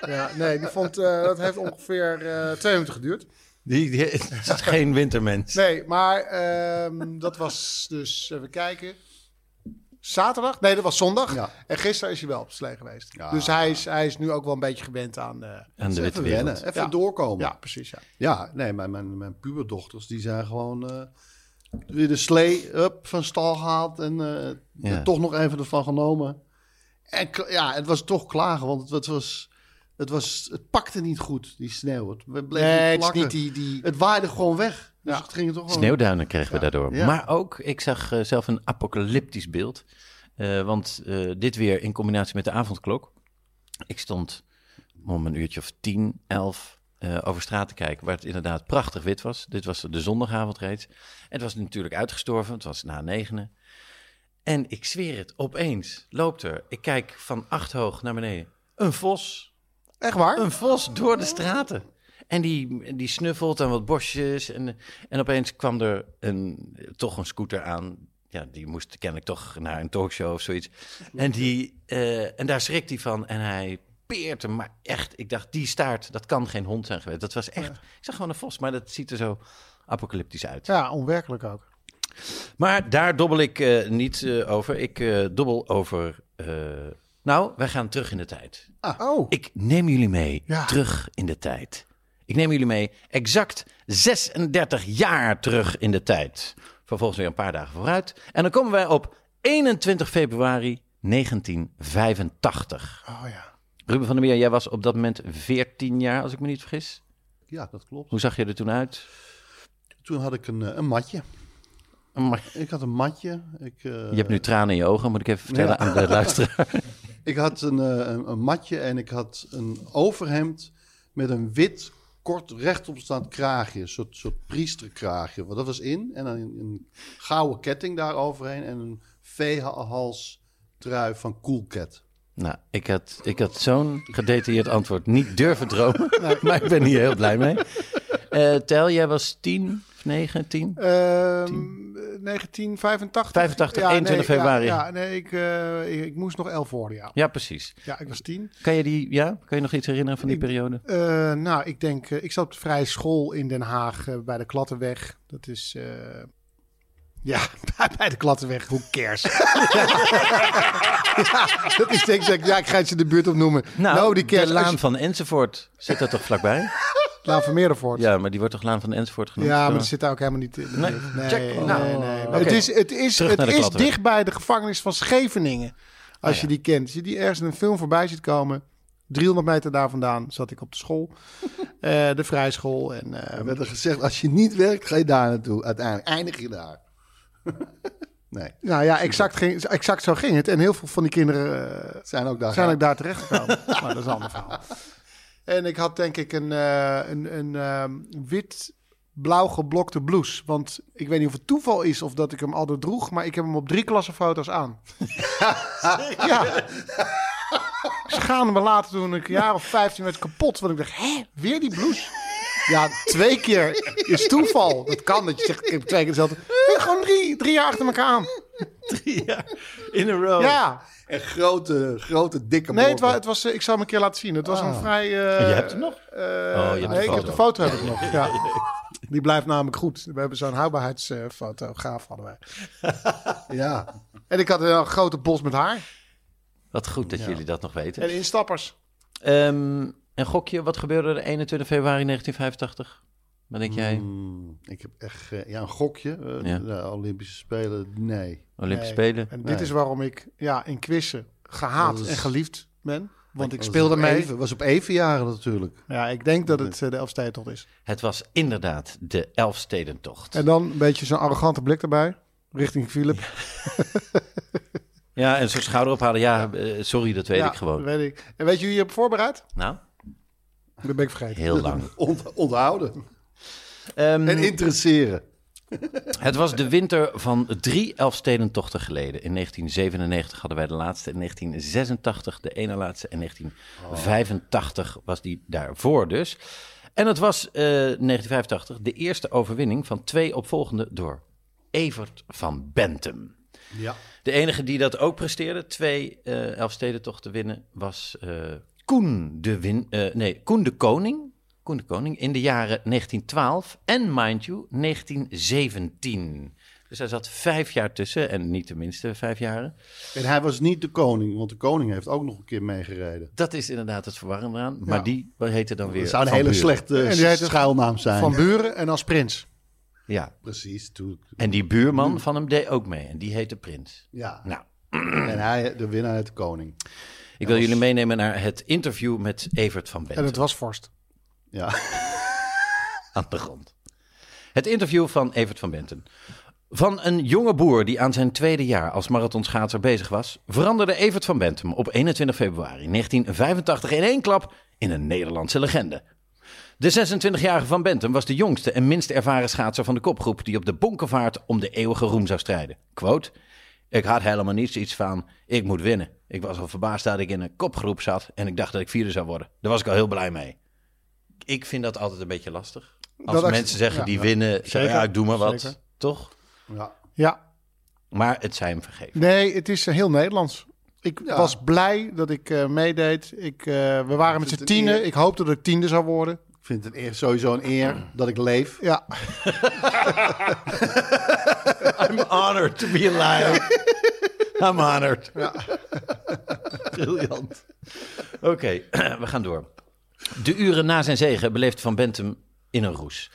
S2: Ja, nee, die vond, eh, dat heeft ongeveer eh, twee minuten geduurd.
S1: Die, die- het is geen wintermens.
S2: Nee, maar ehm, dat was dus, even kijken. Zaterdag? Nee, dat was zondag.
S3: Ja.
S2: En gisteren is hij wel op slee geweest.
S3: Ja.
S2: Dus hij is, hij is nu ook wel een beetje gewend aan. eh,
S1: Aan de
S3: Even
S1: witte
S3: wennen,
S1: wereld.
S3: even
S2: Ja.
S3: doorkomen.
S2: ja,
S3: Ja,
S2: precies. Ja.
S3: nee, mijn, mijn, mijn puberdochters die zijn gewoon eh, weer de slee up, van stal gehaald en eh,
S1: Ja.
S3: er toch nog even ervan genomen. En k- ja, het was toch klagen, want het, het was, het was, het pakte niet goed, die sneeuw. Het bleef
S2: Nee,
S3: niet
S2: het is
S3: plakken.
S2: niet die. die...
S3: Het waaide gewoon weg. Dus
S2: Ja.
S3: het ging toch gewoon...
S1: Sneeuwduinen kregen we daardoor.
S3: Ja.
S1: Maar ook, ik zag eh, zelf een apocalyptisch beeld. Eh, want eh, dit weer in combinatie met de avondklok. Ik stond om een uurtje of tien, elf eh, over straat te kijken, waar het inderdaad prachtig wit was. Dit was de zondagavond reeds. En het was natuurlijk uitgestorven, het was na negenen. En ik zweer het, opeens loopt er, ik kijk van acht hoog naar beneden, een vos.
S2: Echt waar?
S1: Een vos door de straten. En die, die snuffelt aan wat bosjes. En, en opeens kwam er een, toch een scooter aan. Ja, die moest kennelijk toch naar een talkshow of zoiets. En, die, eh, en daar schrikt hij van. En hij peert hem. Maar echt, ik dacht, die staart, dat kan geen hond zijn geweest. Dat was echt, ik zag gewoon een vos. Maar dat ziet er zo apocalyptisch uit.
S2: Ja, onwerkelijk ook.
S1: Maar daar dobbel ik eh, niet eh, over. Ik eh, dobbel over... eh, nou, wij gaan terug in de tijd.
S2: Oh,
S1: Ik neem jullie mee
S2: Ja.
S1: terug in de tijd. Ik neem jullie mee exact 36 jaar terug in de tijd. Vervolgens weer een paar dagen vooruit. En dan komen wij op 21 februari 1985.
S2: oh ja.
S1: Ruben van der Meer, jij was op dat moment 14 jaar, als ik me niet vergis.
S3: Ja, dat klopt.
S1: Hoe zag je er toen uit?
S3: Toen had ik een, eh, een matje.
S1: Maar
S3: Ik had een matje. Ik, eh,
S1: je hebt nu tranen in je ogen, moet ik even vertellen aan de luisteraar.
S3: Ik had een, eh, een, een matje en ik had een overhemd met een wit, kort rechtopstaand kraagje. Een soort, soort priesterkraagje. Want dat was in. En dan een, een gouden ketting daaroverheen. En een veehals trui van Cool Cat.
S1: Nou, ik had, ik had zo'n gedetailleerd antwoord niet durven dromen. Maar ik ben hier heel blij mee. Eh, Tel, jij was 10 of 9, 10?
S2: Ehm, 1985.
S1: 85,
S2: Ja,
S1: 21
S2: nee,
S1: februari.
S2: Ja, ja, nee, ik, eh, ik, ik moest nog elf worden, ja.
S1: Ja, precies.
S2: Ja, ik was tien.
S1: Kan je, die, ja? kan je nog iets herinneren van die
S2: Ik-
S1: periode?
S2: Eh, nou, ik denk, eh, ik zat op de vrije school in Den Haag eh, bij de Klattenweg. Dat is, eh, ja, bij- bij de Klattenweg, hoe cares? ja, dat is denk ik, ja, ik ga het ze de buurt opnoemen. Nou, die cares,
S1: de
S2: als
S1: Laan
S2: je-
S1: van Enzovoort zit dat toch vlakbij?
S2: Laan van Meerdervoort. Ja,
S1: Ja, maar die wordt toch Laan van Enzovoort genoemd?
S2: maar dat zit daar ook helemaal niet in. de
S1: Nee,
S2: buurt. nee,
S1: check.
S2: nee,
S1: Nou,
S2: nee, nee.
S1: oké.
S2: Het is, het is,
S1: Terug
S2: het
S1: naar de
S2: is
S1: Klattenweg.
S2: dicht bij de gevangenis van Scheveningen, als
S1: Ah,
S2: je die kent. Als je die ergens in een film voorbij ziet komen... 300 meter daar vandaan zat ik op de school. Eh, de vrije school. En, eh,
S3: Er werd er gezegd, als je niet werkt, ga je daar naartoe. Uiteindelijk eindig je daar. nee,
S2: Nou ja, exact, ging, exact zo ging het. En heel veel van die kinderen eh,
S3: het zijn ook daar.
S2: zijn ook daar terechtgekomen. maar dat is een ander verhaal. En ik had denk ik een, eh, een, een ehm, wit-blauw geblokte blouse. Want ik weet niet of het toeval is of dat ik hem altijd droeg... maar ik heb hem op drie klassenfoto's aan. ja. Schaamde me later toen ik een jaar of 15 werd kapot. Want ik dacht, hè, weer die blouse? Ja, twee keer is toeval. Dat kan, dat je zegt, ik heb twee keer hetzelfde. Nee, gewoon drie, drie jaar achter elkaar aan.
S1: Ja, in a row.
S2: Ja,
S3: En grote, grote, dikke
S2: nee, het, wa-
S3: brokken.
S2: het was, eh, ik zal hem een keer laten zien. Het was een vrij...
S1: En je hebt hem nog?
S2: oh,
S1: je hebt de
S2: nee, ik heb
S1: foto.
S2: de foto heb ik nog, ja. Die blijft namelijk goed. We hebben zo'n houdbaarheidsfotograaf hadden wij.
S3: Ja,
S2: En ik had een eh, grote bos met haar.
S1: Wat goed dat jullie dat nog weten.
S2: En instappers.
S1: Ehm en gokje, wat gebeurde er 21 februari 1985? Wat denk jij?
S3: Mm, ik heb echt eh, ja, een gokje. eh,
S1: Ja.
S3: De Olympische Spelen, nee.
S1: Olympische
S2: Nee.
S1: Spelen?
S2: En
S3: Nee.
S2: dit is waarom ik ja, in quizzen
S3: Dat
S2: gehaat
S3: is-
S2: en geliefd ben. Want ik
S3: Was
S2: speelde
S3: op
S2: mee.
S3: Even, was op evenjaren natuurlijk.
S2: Ja, ik denk dat het eh, de Elfstedentocht is.
S1: Het was inderdaad de Elfstedentocht.
S2: En dan een beetje zo'n arrogante blik erbij. Richting Philip.
S1: Ja, en zo'n schouder ophalen. Ja, eh, sorry, dat weet
S2: Ja,
S1: ik gewoon.
S2: Weet ik. En weet je wie je hebt voorbereid?
S1: Nou,
S2: Dat ben ik vergeten.
S1: heel lang.
S3: Ont- onthouden
S1: Ehm,
S3: en interesseren.
S1: Het was de winter van drie Elfstedentochten geleden. In 1997 hadden wij de laatste, in 1986 de ene laatste en 1985 was die daarvoor dus. En het was eh, 1985 de eerste overwinning van twee opvolgende door Evert van Bentum.
S3: Ja.
S1: De enige die dat ook presteerde, twee eh Elfstedentochten winnen, was eh, Koen, de win, eh, nee, Koen de Koning Koen de Koning in de jaren 1912 en, mind you, 1917. Dus hij zat vijf jaar tussen, en niet de minste vijf jaren.
S3: En hij was niet de koning, want de koning heeft ook nog een keer meegereden.
S1: Dat is inderdaad het verwarrende aan. Maar die wat heette dan weer.
S3: Dat zou een
S1: Van
S3: hele
S1: Buren.
S3: slechte
S2: En die heette
S3: schuilnaam zijn.
S2: Van Buren en als prins.
S1: Ja.
S3: Precies, toen.
S1: En die
S3: Hmm.
S1: buurman van hem deed ook mee. En die heette Prins.
S3: Ja,
S1: Nou,
S3: en hij, de winnaar uit de koning.
S1: ik wil jullie meenemen naar het interview met Evert van
S2: En
S1: Benten.
S2: het was vorst.
S3: Ja.
S1: aan de grond. Het interview van Evert van Benten. Van een jonge boer die aan zijn tweede jaar als marathonschaatser bezig was, veranderde Evert van Bentum op 21 februari 1985 in één klap in een Nederlandse legende. De 26-jarige Van Bentum was de jongste en minst ervaren schaatser van de kopgroep die op de bonkenvaart om de eeuwige roem zou strijden. Quote, ik had helemaal niets iets van, ik moet winnen. Ik was al verbaasd dat ik in een kopgroep zat en ik dacht dat ik vierde zou worden. Daar was ik al heel blij mee. Ik vind dat altijd een beetje lastig. Als
S2: Dat acce-
S1: mensen zeggen
S2: ja,
S1: die winnen, zeggen ja, ik doe maar wat.
S2: zeker.
S1: Toch?
S3: ja.
S2: Ja,
S1: Maar het zijn vergeven.
S2: nee, het is eh, heel Nederlands. Ik was blij dat ik eh, meedeed. Ik, eh, we waren met
S3: het
S2: z'n
S3: een eer?
S2: tienen. Ik hoopte dat ik tiende zou worden.
S3: Ik vind het een eer, sowieso een eer dat ik leef.
S2: Ja,
S1: I'm honored to be alive. I'm honored. Briljant. Oké, we gaan door. De uren na zijn zegen beleeft Van Bentum in een roes.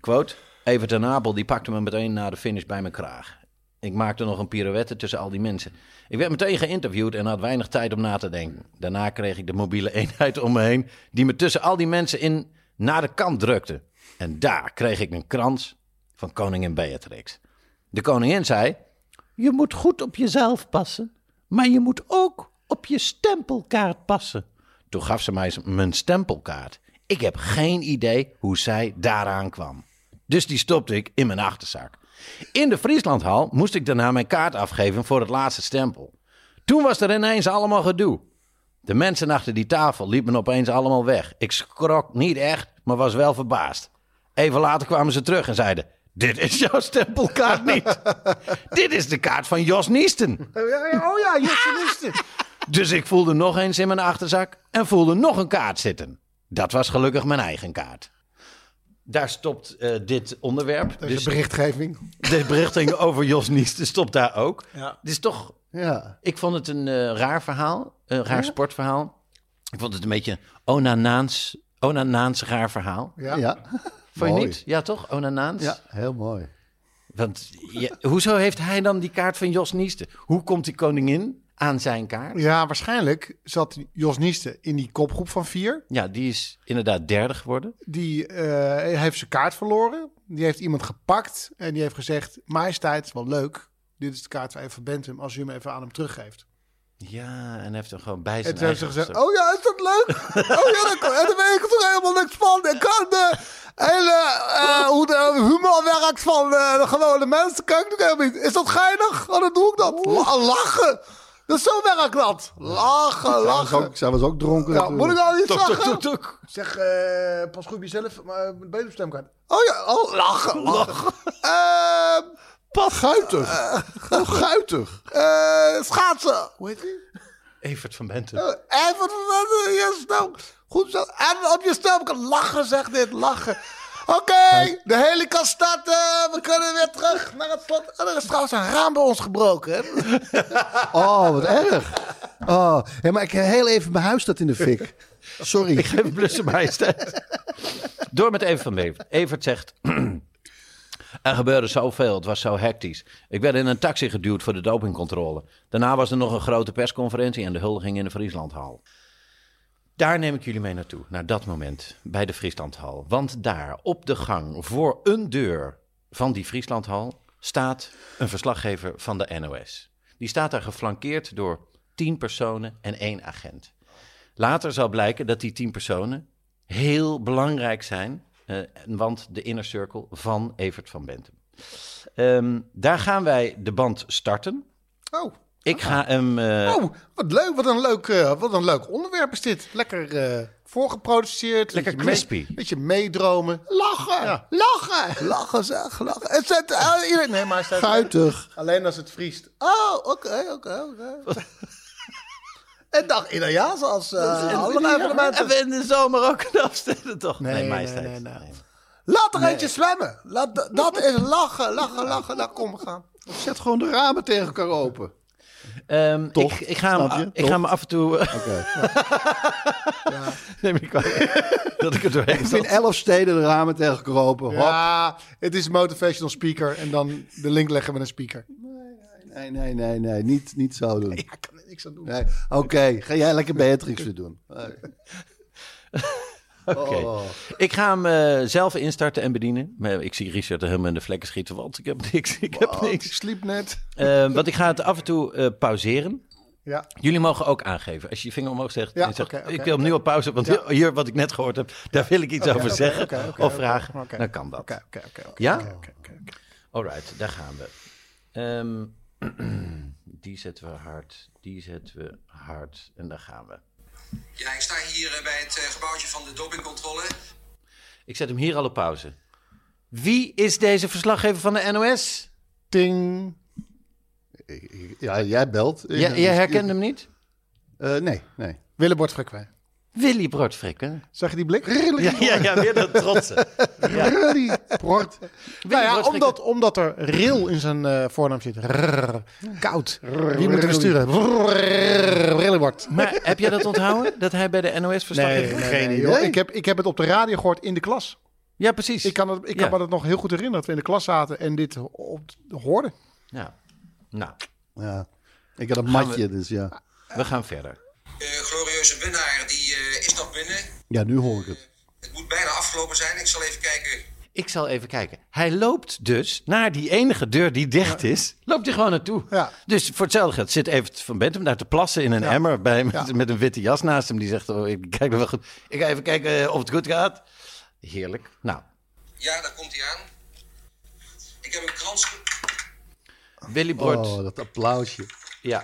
S1: Quote, Evert en Apel die pakte me meteen na de finish bij mijn kraag. Ik maakte nog een pirouette tussen al die mensen. Ik werd meteen geïnterviewd en had weinig tijd om na te denken. Daarna kreeg ik de mobiele eenheid om me heen... die me tussen al die mensen in naar de kant drukte. En daar kreeg ik een krans van koningin Beatrix. De koningin zei... Je moet goed op jezelf passen, maar je moet ook op je stempelkaart passen. Toen gaf ze mij z- mijn stempelkaart. Ik heb geen idee hoe zij daaraan kwam. Dus die stopte ik in mijn achterzak. In de Frieslandhal moest ik daarna mijn kaart afgeven voor het laatste stempel. Toen was er ineens allemaal gedoe. De mensen achter die tafel liepen opeens allemaal weg. Ik schrok niet echt, maar was wel verbaasd. Even later kwamen ze terug en zeiden: Dit is jouw stempelkaart niet. Dit is de kaart van Jos Niesten.
S2: Oh ja, Justinisten.
S1: Dus ik voelde nog eens in mijn achterzak en voelde nog een kaart zitten. Dat was gelukkig mijn eigen kaart. Daar stopt eh, dit onderwerp.
S2: Deze
S1: Dus
S2: berichtgeving.
S1: de berichting over Jos Niesten stopt daar ook.
S2: Ja.
S1: Dit is toch
S3: Ja.
S1: ik vond het een eh, raar verhaal, een raar sportverhaal. Ik vond het een beetje onanaans, onanaans raar verhaal.
S2: Ja.
S3: Ja.
S1: Vond je
S3: Mooi.
S1: niet? Ja, toch? Onanaans?
S3: Ja, heel mooi.
S1: Want ja, hoezo heeft hij dan die kaart van Jos Niesten? Hoe komt die koningin aan zijn kaart?
S2: ja, waarschijnlijk zat Jos Niesten in die kopgroep van vier.
S1: Ja, die is inderdaad derde geworden.
S2: Die eh, heeft zijn kaart verloren. Die heeft iemand gepakt. En die heeft gezegd: Majesteit, wel leuk. Dit is de kaart van Eva Bentum. Als u hem even aan hem teruggeeft.
S1: Ja, en heeft hem gewoon bij
S2: En
S1: zijn
S2: toen heeft ze
S1: eigen
S2: gezegd:
S1: gezet.
S2: Oh ja, is dat leuk? oh ja, dat kan. En daar weet ik toch helemaal niks van. Ik kan de hele eh, hoe de humor werkt van eh, de gewone mensen. Kijk, ik helemaal niet. Is dat geinig? Oh, dan doe ik dat. La- Lachen. Dus zo werkt dat. Lachen,
S3: Zij was,
S2: lachen.
S3: ook, zij was ook dronken.
S2: Ja,
S3: natuurlijk.
S2: moet ik nou niet lachen?
S1: tuk.
S2: Zeg, eh, pas goed op jezelf, maar uh, ben je op stemkaart? Oh ja, oh, lachen, lachen. Ehm,
S3: Pas guitig. Oh, guitig.
S2: eh, schaatsen. Hoe heet die?
S1: Evert van Bentum.
S2: Eh, Even wat je stem. Goed zo. En op je stemkaart. Lachen, zeg dit, lachen. Oké, de hele kast staat. eh, we kunnen weer terug naar het slot. En er is trouwens een raam bij ons gebroken. hè?
S3: Oh, wat erg. Oh, hé, maar ik heel even mijn huis staat in de fik. Sorry.
S1: Ik geef een blussen bij Stijn. Door met Evert van Beveren. Evert zegt... Er gebeurde zoveel, het was zo hectisch. Ik werd in een taxi geduwd voor de dopingcontrole. Daarna was er nog een grote persconferentie en de huldiging in de Frieslandhal. Daar neem ik jullie mee naartoe, naar dat moment, bij de Frieslandhal. Want daar, op de gang, voor een deur van die Frieslandhal... staat een verslaggever van de NOS. Die staat daar geflankeerd door tien personen en één agent. Later zal blijken dat die tien personen heel belangrijk zijn, eh, want de inner circle van Evert van Bentum. Ehm, daar gaan wij de band starten.
S2: Oh.
S1: Ik ga hem. eh,
S2: Oh, wat leuk, wat een leuk, eh, wat een leuk onderwerp is dit. Lekker eh, voorgeproduceerd.
S1: Lekker
S2: Beetje mee-
S1: crispy.
S2: beetje meedromen. Lachen, lachen. Lachen zeg, lachen. Het zet, eh, iedereen, nee, maar staat
S3: Guitig.
S2: alleen als het vriest. Oh, oké, oké, oké. En dag Italiaans als eh, allerlei van de
S1: En
S2: mensen.
S1: we in de zomer ook een afstellen, toch?
S2: Nee,
S1: Nee,
S2: nee,
S1: majesteit.
S2: nee, nee. Laat er eentje zwemmen. Laat, d- dat is lachen, lachen, lachen. Daar kom we gaan.
S3: Of zet gewoon de ramen tegen elkaar open.
S1: Ehm,
S3: Toch,
S1: ik, ik, ga
S3: snap je?
S1: hem, ik
S3: Toch?
S1: ga hem af en toe... eh, Neem ik kwalijk dat ik er doorheen
S3: Ik vind
S1: zat.
S3: elf steden de ramen tegen elkaar open. Hop.
S2: Ja, het is motivational speaker en dan de link leggen met een speaker.
S3: Nee, nee, nee, nee. Niet, niet zo doen.
S2: Ik kan er niks aan doen.
S3: Nee. Oké, ga jij lekker Beatrix weer doen. Oké.
S1: Oké.
S3: Oh.
S1: Ik ga hem eh, zelf instarten en bedienen. Maar ik zie Richard er helemaal in de vlekken schieten, want ik heb niks. Ik heb
S2: Oh, ik
S1: niks.
S2: sliep net.
S1: Eh, want ik ga het af en toe eh, pauzeren.
S2: Ja.
S1: Jullie mogen ook aangeven. Als je je vinger omhoog zegt,
S2: Ja,
S1: en zegt
S2: oké, oké,
S1: ik wil hem nu op pauze, want hier- hier wat ik net gehoord heb, daar wil ik iets over zeggen
S2: oké, oké,
S1: of
S2: oké,
S1: vragen.
S2: oké.
S1: Dan kan dat.
S2: Oké, oké, oké. oké.
S1: Ja?
S2: Oké, oké, oké.
S1: Alright, daar gaan we. Ehm, die zetten we hard, die zetten we hard en daar gaan we.
S5: Ja, ik sta hier eh, bij het eh, gebouwtje van de dopingcontrole.
S1: Ik zet hem hier al op pauze. Wie is deze verslaggever van de NOS?
S2: Ting.
S3: Ik- ik- Ja, jij belt. dus,
S1: J- jij herkent hem niet?
S3: Eh, nee, nee.
S2: Willebord Frequent.
S1: Willy Brodfrik, hè?
S2: Zag je die blik?
S1: Ja, ja, ja, weer dat trotse.
S2: Really? Port. Nou ja,
S1: Broderick-
S2: omdat, omdat er ril in zijn eh, voornaam zit. Rrr. koud. Wie moeten we sturen? Rillebord.
S1: Maar heb jij dat onthouden? Dat hij bij de NOS verslaggever was?
S2: joh. Ik heb, ik heb het op de radio gehoord in de klas.
S1: Ja, precies.
S2: Ik kan, het, ik
S1: Ja.
S2: kan me dat nog heel goed herinneren dat we in de klas zaten en dit op, hoorden.
S1: Ja. Nou,
S3: Ja. Ik had een matje, dus ja.
S1: we gaan verder.
S5: Eh glorieuze winnaar, die eh, is nog binnen.
S3: Ja, nu hoor ik het.
S5: Het moet bijna afgelopen zijn. Ik zal even kijken.
S1: Ik zal even kijken. Hij loopt dus naar die enige deur die dicht is. Loopt hij gewoon naartoe.
S2: Ja.
S1: Dus voor hetzelfde geld zit even van Bentum daar te plassen in een emmer. Bij, met, met een witte jas naast hem. Die zegt, oh, ik kijk er wel goed. Ik ga even kijken eh, of het goed gaat. Heerlijk. Nou,
S5: Ja, daar komt hij aan. Ik heb een krans. ge-
S1: Willy Bord.
S3: Oh, dat applausje.
S1: Ja.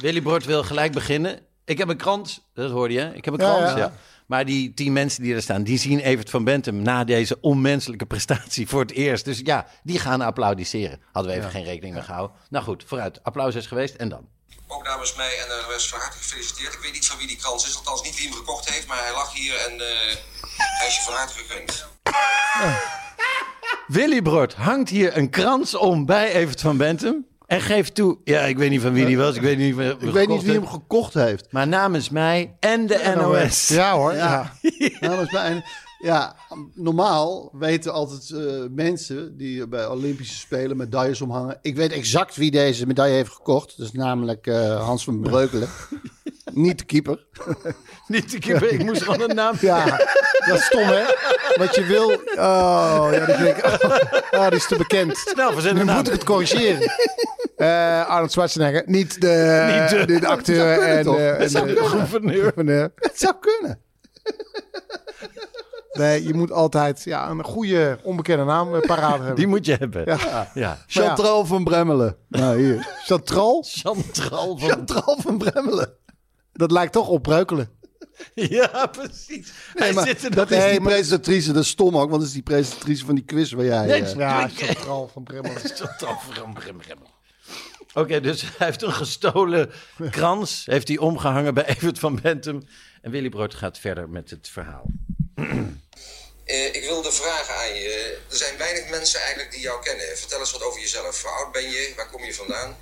S1: Willy Bord wil gelijk beginnen. Ik heb een krans. Dat hoorde je, hè? Ik heb een
S2: Ja,
S1: krans, ja.
S2: ja.
S1: Maar die tien mensen die er staan, die zien Evert van Bentum na deze onmenselijke prestatie voor het eerst. Dus ja, die gaan applaudisseren. Hadden we even geen rekening mee gehouden. Nou goed, vooruit. Applaus is geweest en dan.
S5: Ook namens mij en de rest van harte gefeliciteerd. Ik weet niet van wie die krans is, althans niet wie hem gekocht heeft, maar hij lag hier en eh, hij is je van harte gegund.
S1: Willy Bord hangt hier een krans om bij Evert van Bentum. En geeft toe, ja, ik weet niet van wie die was. Ik weet niet, wie
S3: Ik weet niet wie hem gekocht heeft.
S1: Maar namens mij en de NOS.
S2: Ja hoor. Ja.
S3: Ja. Nou, Namens mij. En, ja, normaal weten altijd eh, mensen die bij Olympische Spelen medailles omhangen. Ik weet exact wie deze medaille heeft gekocht. Dat is namelijk eh, Hans van Breukelen. Niet de keeper.
S1: Niet te keeper, ik moest gewoon een naam.
S2: Ja. dat is stom hè?
S3: Wat je wil.
S2: Oh, ja, dat denk ik. Oh, oh, die is te bekend.
S1: Snel, verzet een
S2: Nu
S1: naam.
S2: moet ik het corrigeren. Eh, Arnold Schwarzenegger, niet de,
S1: Niet de-
S2: niet de, acteur en,
S3: toch?
S2: eh, en de
S1: gouverneur.
S2: gouverneur.
S3: Het zou kunnen.
S2: Nee, je moet altijd ja, een goede onbekende naam eh, paraat hebben.
S1: Die moet je hebben. Ja.
S3: Chantral van Bremmelen. Nou, hier.
S2: Chantral,
S1: Chantral van...
S3: Chantral van Bremmelen.
S2: dat lijkt toch op Breukelen.
S1: Ja, precies. Hij
S3: maar
S1: zit er
S3: dat
S1: nog
S3: is
S1: in.
S3: die presentatrice, dat is stom ook, want dat is die presentatrice van die quiz waar jij...
S1: Nee,
S3: eh,
S1: snap
S2: Ja, Chantral van Bremmel.
S1: Chantral van Brim, Brim. Oké, dus hij heeft een gestolen krans. Heeft hij omgehangen bij Evert van Bentum. En Willy Brood gaat verder met het verhaal.
S5: Eh, ik wilde vragen aan je. Er zijn weinig mensen eigenlijk die jou kennen. Vertel eens wat over jezelf. Hoe oud ben je? Waar kom je vandaan?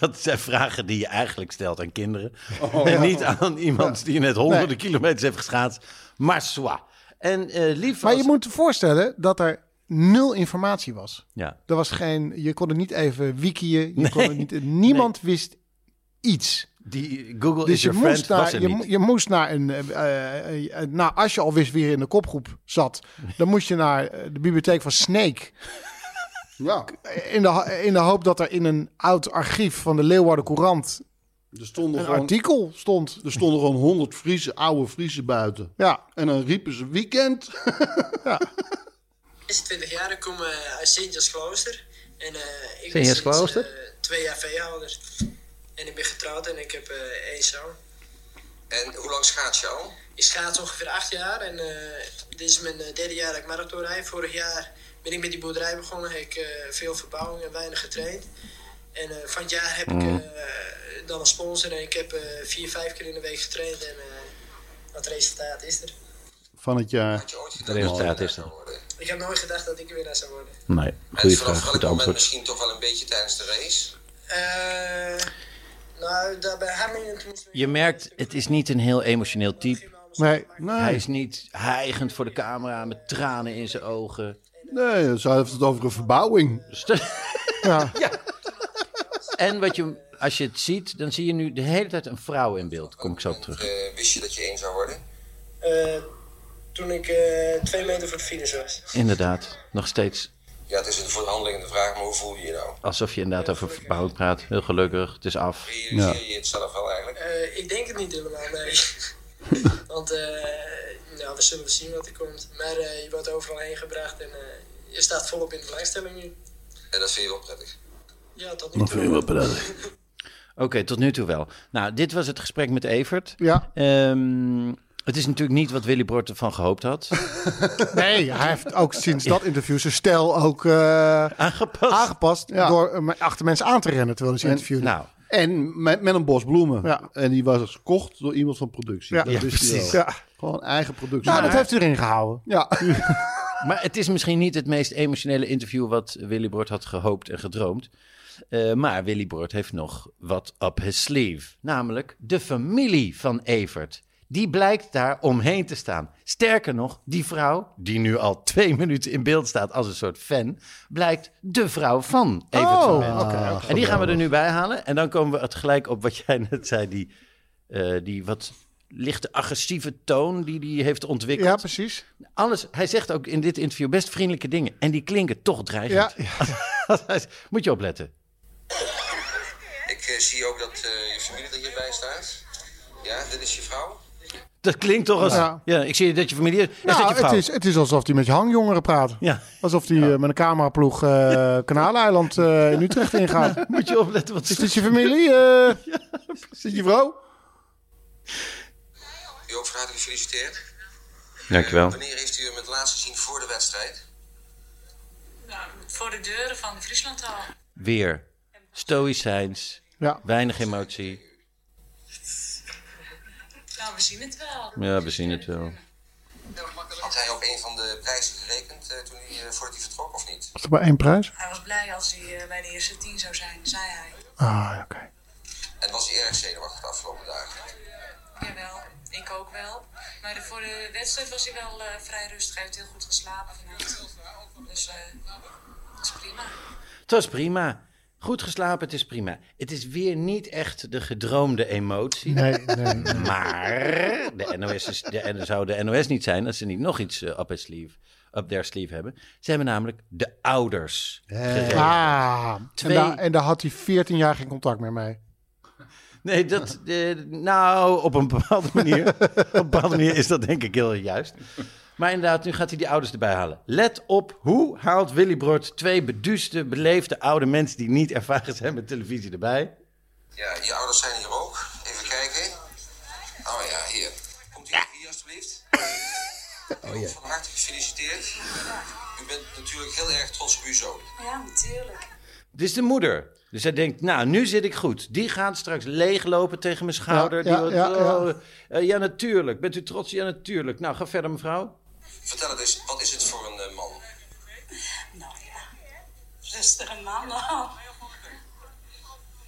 S1: Dat zijn vragen die je eigenlijk stelt aan kinderen.
S2: Oh,
S1: en niet aan iemand die net honderden kilometers heeft geschaatst. Maar soit. En eh lief
S2: Maar
S1: als-
S2: je moet je voorstellen dat er nul informatie was.
S1: Ja.
S2: Er was geen, je kon het niet even wikiën. Je kon het niet, niemand wist iets.
S1: Die Google is
S2: Dus je
S1: your friend
S2: moest,
S1: was
S2: naar,
S1: er
S2: je,
S1: niet.
S2: mo- je moest naar een. eh, eh, eh, eh, nou, als je al wist wie er in de kopgroep zat, dan moest je naar eh, de bibliotheek van Snake.
S3: ja.
S2: In de, ho- in de hoop dat er in een oud archief van de Leeuwarden Courant
S3: Er stonden,
S2: een
S3: gewoon,
S2: artikel stond.
S3: er stonden gewoon 100 Friese, oude Friese buiten.
S2: Ja,
S3: En dan riepen ze weekend.
S6: 26 jaar, ik kom eh, uit Sint-Jans-Klooster. En, eh, ik ben sinds,
S1: Sint-Jans-Klooster?
S6: eh, twee jaar veehouder. En ik ben getrouwd en ik heb eh één zoon.
S5: En hoe lang schaats je al?
S6: Ik schaats ongeveer acht jaar en eh, dit is mijn eh, derde jaar dat ik marathon rijd. Vorig jaar ben ik met die boerderij begonnen, heb ik eh, veel verbouwing en weinig getraind. En eh, van het jaar heb ik
S1: Mm.
S6: eh, dan een sponsor en ik heb eh, vier, vijf keer in de week getraind. En eh, dat resultaat is er.
S3: van het jaar.
S5: Had je ooit gedacht
S1: Het resultaat is er.
S5: dat worden?
S6: Ik had nooit gedacht dat ik winnaar zou worden.
S1: Nee,
S5: En
S1: goede
S5: vanaf
S1: vraag,
S5: welk
S1: goed
S5: moment
S1: antwoord.
S5: misschien toch wel een beetje tijdens de race?
S6: Eh, nou, daar bij Harmingen toen moesten we-
S1: Je merkt, het is niet een heel emotioneel type.
S3: Nee,
S1: Hij
S3: nee,
S1: is niet hijgend voor de camera met tranen in zijn ogen. Dus
S3: nee. Ze heeft het over een verbouwing. Ja.
S1: En wat je, als je het ziet, dan zie je nu de hele tijd een vrouw in beeld. Kom ik zo op terug.
S5: Eh, wist je dat je één zou worden?
S6: Eh, toen ik eh, twee meter voor de finish was.
S1: Inderdaad, nog steeds
S5: Ja, het is een voor de handeling de vraag, maar hoe voel je je nou?
S1: alsof je inderdaad over verbouwing praat. Heel gelukkig, het is af.
S5: Realiseer je het zelf wel eigenlijk?
S6: Eh, ik denk het niet helemaal, nee. Want eh, nou, we zullen zien wat er komt. Maar eh, je wordt overal heen gebracht en eh, je staat volop in de belangstelling nu.
S5: En dat vind je wel prettig.
S6: Ja, tot nu toe.
S1: Oké, tot nu toe wel. Nou, dit was het gesprek met Evert.
S2: Ja.
S1: Ehm, het is natuurlijk niet wat Willy Bort ervan gehoopt had.
S2: Nee, hij heeft ook sinds dat interview zijn stijl ook eh,
S1: Aangepast.
S2: aangepast
S3: Ja.
S2: door eh, maar achter mensen aan te rennen terwijl hij ze interviewde.
S1: nou,
S3: En met, met een bos bloemen.
S2: Ja.
S3: En die was dus gekocht door iemand van productie.
S2: Ja.
S3: Dat
S2: Ja,
S3: wist hij
S1: precies.
S3: wel.
S2: ja.
S3: Gewoon eigen productie.
S2: nou, dat heeft hij erin gehouden.
S3: Ja.
S1: maar het is misschien niet het meest emotionele interview wat Willy Bort had gehoopt en gedroomd. Eh, maar Willy Bort heeft nog wat up his sleeve. Namelijk de familie van Evert. Die blijkt daar omheen te staan. Sterker nog, die vrouw, die nu al twee minuten in beeld staat als een soort fan, blijkt de vrouw van Evert van Beneden. En die gaan we er nu bij halen. En dan komen we het gelijk op wat jij net zei. Die, eh, die wat lichte agressieve toon die die heeft ontwikkeld.
S2: Ja, precies.
S1: Alles, hij zegt ook in dit interview best vriendelijke dingen. En die klinken toch
S2: Ja,
S1: dreigend.
S2: ja.
S1: Moet je opletten.
S5: Ik eh, zie ook dat eh, je familie er hierbij staat. Ja, dit is je vrouw.
S1: Dat klinkt toch als... Ja,
S2: Ja.
S1: ik zie dat je familie is. Is dat
S2: Nou,
S1: je vrouw?
S2: het, is, het is alsof hij met je hangjongeren praat.
S1: Ja,
S2: Alsof hij eh, met een cameraploeg eh Kanaleiland eh, in Utrecht ingaat.
S1: moet je opletten. Wat
S2: Is
S1: ze-
S2: dit je familie? eh?
S3: Zit je vrouw?
S5: U ook van harte gefeliciteerd. Eh,
S1: Dankjewel.
S5: Wanneer heeft u hem het laatst gezien voor de wedstrijd?
S7: Nou, voor de deuren van de Frieslandhal.
S1: Weer stoïcijns,
S2: Ja.
S1: weinig emotie.
S7: Nou, we zien het wel.
S1: Ja, we zien het wel.
S5: Had hij op een van de prijzen gerekend eh, toen hij, eh, voordat hij vertrok of niet?
S2: Was er maar één prijs?
S7: Hij was blij als hij eh, bij de eerste tien zou zijn, zei hij.
S2: Ah, ja, oké.
S5: En was hij erg zenuwachtig de afgelopen dagen?
S7: Jawel, ik ook wel. Maar de- voor de wedstrijd was hij wel eh, vrij rustig. Hij heeft heel goed geslapen vanavond. Dus eh dat is prima.
S1: Het was prima. Goed geslapen, het is prima. Het is weer niet echt de gedroomde emotie.
S2: Nee, nee.
S1: Maar de NOS is, de, en zou de NOS niet zijn als ze niet nog iets eh, up, their sleeve, up their sleeve hebben. Ze hebben namelijk de ouders geregeld.
S2: Ah, en,
S1: Twee.
S2: daar, en daar had hij 14 jaar geen contact meer mee.
S1: Nee, dat, eh, nou, op een bepaalde manier. op een bepaalde manier is dat denk ik heel juist. Maar inderdaad, nu gaat hij die ouders erbij halen. Let op, hoe haalt Willy Brod twee beduuste, beleefde oude mensen... die niet ervaren zijn met televisie erbij?
S5: Ja, je ouders zijn hier ook. Even kijken. Oh ja, hier. Komt u hier alsjeblieft. Oh, ja. Van harte gefeliciteerd. U bent natuurlijk heel erg trots op uw zoon.
S7: Ja, natuurlijk.
S1: Dit is de moeder. Dus hij denkt, nou, nu zit ik goed. Die gaat straks leeglopen tegen mijn schouder.
S2: Ja,
S1: Ja,
S2: ja,
S1: die,
S2: ja, ja.
S1: wordt- oh, eh, ja, natuurlijk. Bent u trots? Ja, natuurlijk. Nou, ga verder, mevrouw.
S5: Vertel het eens, wat is het voor een eh, man?
S7: Nou ja, rustige man al.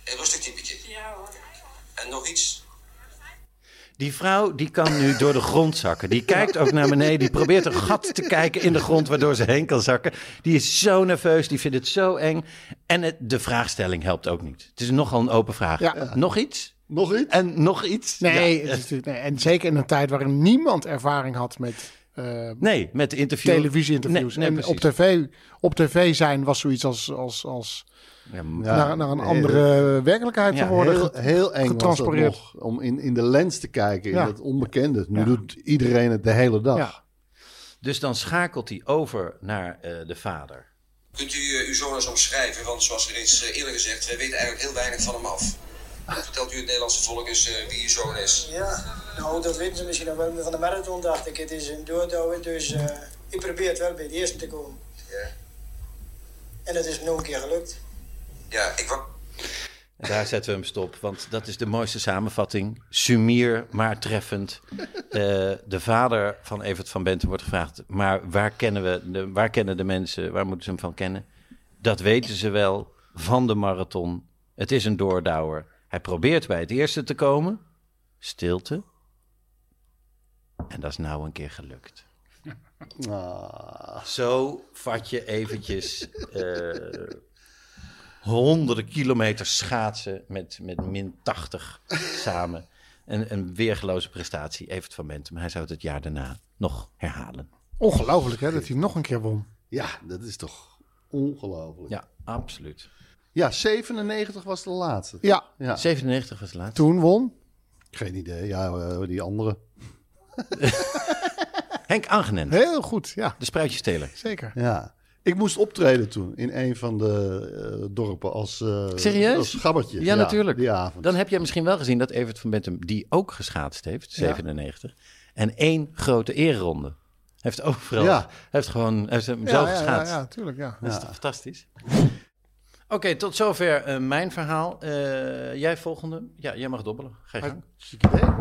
S5: Een rustig typetje.
S7: Ja hoor.
S5: En nog iets?
S1: Die vrouw die kan nu door de grond zakken. Die kijkt ook naar beneden. Die probeert een gat te kijken in de grond waardoor ze heen kan zakken. Die is zo nerveus. Die vindt het zo eng. En het- de vraagstelling helpt ook niet. Het is nogal een open vraag.
S2: Ja.
S1: Nog iets?
S3: Nog iets?
S1: En nog iets?
S2: Nee,
S1: Ja. eh,
S2: het is natuurlijk- nee, en zeker in een tijd waarin niemand ervaring had met eh,
S1: Nee, met de interview.
S2: televisie-interviews.
S1: Nee, nee,
S2: en op
S1: precies.
S2: tv, op tv zijn was zoiets als, als, als
S1: Ja, m-
S3: Ja.
S2: naar, naar een
S3: Nee,
S2: andere werkelijkheid
S1: Ja,
S2: te worden.
S3: Heel, heel eng was dat
S2: getransporeerd.
S3: nog, om in, in de lens te kijken, in
S2: Ja.
S3: dat onbekende. Nu
S2: Ja.
S3: doet iedereen het de hele dag.
S2: Ja.
S1: Dus dan schakelt hij over naar eh, de vader.
S5: Kunt u eh, uw zoon eens omschrijven? Want zoals reeds eh, eerder gezegd, wij weten eigenlijk heel weinig van hem af. Vertelt u het Nederlandse volk eens eh, wie uw zoon is?
S6: Ja, nou dat weten ze misschien nog wel van de marathon dacht ik. Het is een doordouwer, dus eh, ik probeer het wel bij de eerste te komen.
S5: Ja.
S6: En dat is me nog een keer gelukt.
S5: Ja, ik wou...
S1: En daar zetten we hem stop, want dat is de mooiste samenvatting. Sumier, maar treffend. Eh, de vader van Evert van Benten wordt gevraagd... maar waar kennen, we de, waar kennen de mensen, waar moeten ze hem van kennen? Dat weten ze wel van de marathon. Het is een doordouwer. Hij probeert bij het eerste te komen. Stilte. En dat is nou een keer gelukt. Zo vat je eventjes eh, honderden kilometers schaatsen met, met min 80 samen. Een, een weergeloze prestatie, Evert van Bentum. Hij zou het het jaar daarna nog herhalen.
S2: Ongelooflijk hè, dat hij hem nog een keer won.
S3: Ja, dat is toch ongelooflijk. Ja.
S1: Ja, absoluut.
S3: 97 was de laatste.
S2: Ja,
S3: Ja,
S1: 97 was het laatste.
S2: toen won.
S3: geen idee. Ja, eh, die andere.
S1: Henk Aangenem,
S2: Heel goed, ja,
S1: de spruitjesteler.
S2: zeker.
S3: Ja. Ik moest optreden toen in een van de eh, dorpen als, eh
S1: Serieus?
S3: als gabbertje.
S1: Ja, natuurlijk.
S3: Die avond.
S1: Dan heb jij misschien wel gezien dat Evert van Bentum, die ook geschaatst heeft, 97, en één grote eerronde. Hij heeft overal,
S3: Ja.
S1: hij heeft gewoon, hij heeft hem
S2: Ja,
S1: zelf
S2: ja, ja,
S1: geschaatst.
S2: ja, tuurlijk, ja.
S1: Dat is toch fantastisch? Oké, tot zover eh, mijn verhaal. Eh, jij volgende. Ja, jij mag dobbelen. Ga je gang.
S2: Hartstikke idee.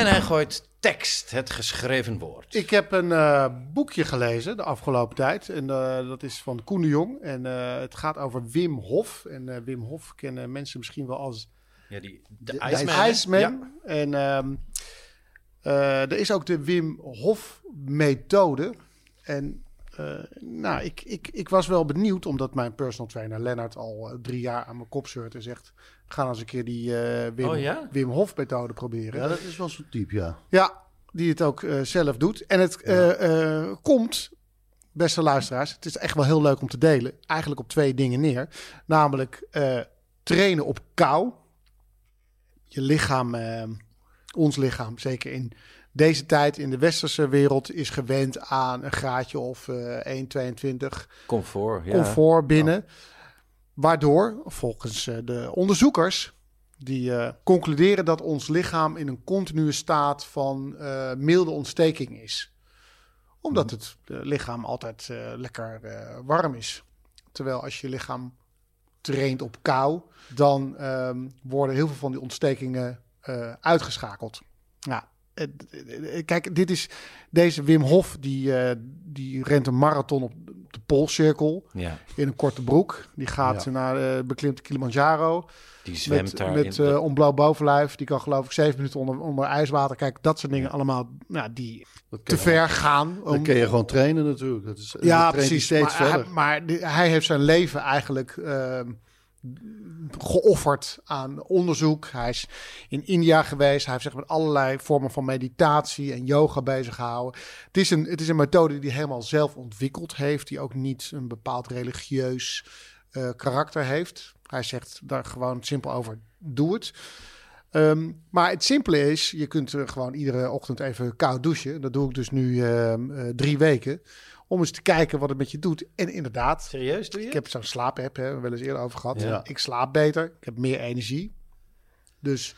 S1: En hij gooit tekst, het geschreven woord.
S2: Ik heb een eh, boekje gelezen de afgelopen tijd. En eh, dat is van Koen de Jong. En eh, het gaat over Wim Hof. En eh, Wim Hof kennen mensen misschien wel als
S1: Ja, die, de,
S2: de
S1: Iceman.
S2: IJsman.
S1: hè? Ja.
S2: En ehm, eh, er is ook de Wim Hof-methode. En eh, nou, ik, ik, ik was wel benieuwd, omdat mijn personal trainer Lennart al eh, drie jaar aan mijn kop zeurt en zegt: ga nou eens een keer die eh, Wim,
S1: Oh ja?
S2: Wim Hof-methode proberen.
S3: Ja, dat is wel zo'n type, ja.
S2: Ja, die het ook eh, zelf doet. En het eh, eh, komt, beste luisteraars, het is echt wel heel leuk om te delen. Eigenlijk op twee dingen neer. Namelijk eh, trainen op kou. Je lichaam, eh, ons lichaam, zeker in deze tijd in de westerse wereld, is gewend aan een graadje of eh 1,22
S1: Comfort, ja.
S2: comfort binnen. Waardoor, volgens eh, de onderzoekers, die eh, concluderen dat ons lichaam in een continue staat van eh, milde ontsteking is. Omdat het eh, lichaam altijd eh, lekker eh, warm is. Terwijl als je lichaam traint op kou, dan ehm, worden heel veel van die ontstekingen eh, uitgeschakeld. Ja, eh, eh, eh, kijk, dit is deze Wim Hof, die, eh, die rent een marathon op de Poolcirkel
S1: Ja,
S2: in een korte broek. Die gaat
S3: Ja.
S2: naar de beklimde Kilimanjaro.
S1: die zwemt
S2: Met,
S1: daar
S2: met
S1: in.
S2: eh, onblauw bovenlijf. Die kan geloof ik zeven minuten onder, onder ijswater. Kijk, dat soort dingen allemaal nou, die
S3: Dat ken
S2: te
S3: je
S2: ver gaan.
S3: Dan
S2: Om,
S3: kun je gewoon trainen natuurlijk. Dat is,
S2: ja,
S3: dat traint hij
S2: precies.
S3: Steeds
S2: maar
S3: verder.
S2: hij, maar die- hij heeft zijn leven eigenlijk ehm, geofferd aan onderzoek. Hij is in India geweest. Hij heeft zich met allerlei vormen van meditatie en yoga bezig gehouden. Het is een, het is een methode die hij helemaal zelf ontwikkeld heeft. Die ook niet een bepaald religieus eh, karakter heeft. Hij zegt daar gewoon simpel over: doe het. Ehm, maar het simpele is, je kunt er gewoon iedere ochtend even koud douchen. Dat doe ik dus nu ehm, eh, drie weken. Om eens te kijken wat het met je doet. En inderdaad,
S1: Serieus, doe je?
S2: ik heb zo'n slaapapp, hè, wel eens eerder over gehad.
S3: Ja.
S2: Ik slaap beter, ik heb meer energie. Dus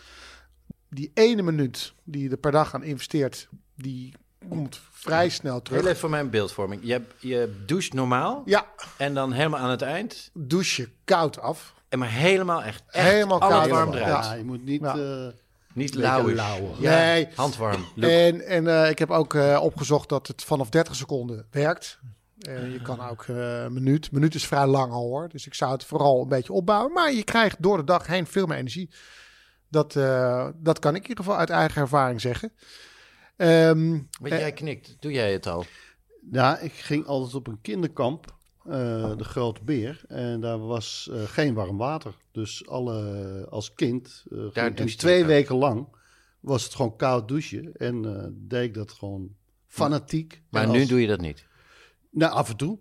S2: die ene minuut die je er per dag aan investeert, die komt vrij snel
S1: Heel even
S2: terug.
S1: voor mijn beeldvorming. Je, hebt- je doucht normaal
S2: Ja,
S1: en dan helemaal aan het eind.
S2: douche je koud af.
S1: En maar helemaal echt, echt
S2: Helemaal
S1: al het
S2: koud.
S1: warm
S3: ja,
S1: eruit.
S3: je moet niet...
S2: Ja.
S3: eh,
S1: Niet
S3: Beetje
S1: lauw.
S3: lauwig.
S1: Ja,
S2: Nee.
S1: handwarm. Look.
S2: En, en eh, ik heb ook eh, opgezocht dat het vanaf 30 seconden werkt. En je kan ook eh, een minuut. Een minuut is vrij lang al hoor. Dus ik zou het vooral een beetje opbouwen. Maar je krijgt door de dag heen veel meer energie. Dat, eh, dat kan ik in ieder geval uit eigen ervaring zeggen. Ehm,
S1: Want jij knikt. Doe jij het al?
S3: Ja, ik ging altijd op een kinderkamp, eh, de Grote Beer. En daar was eh, geen warm water. Dus alle, als kind, eh, ging- en
S1: douchte
S3: twee
S1: je koud.
S3: weken lang, was het gewoon koud douchen. En eh, deed ik dat gewoon fanatiek.
S1: Maar
S3: En
S1: nu
S3: als-
S1: doe je dat niet.
S3: Nou, af en toe.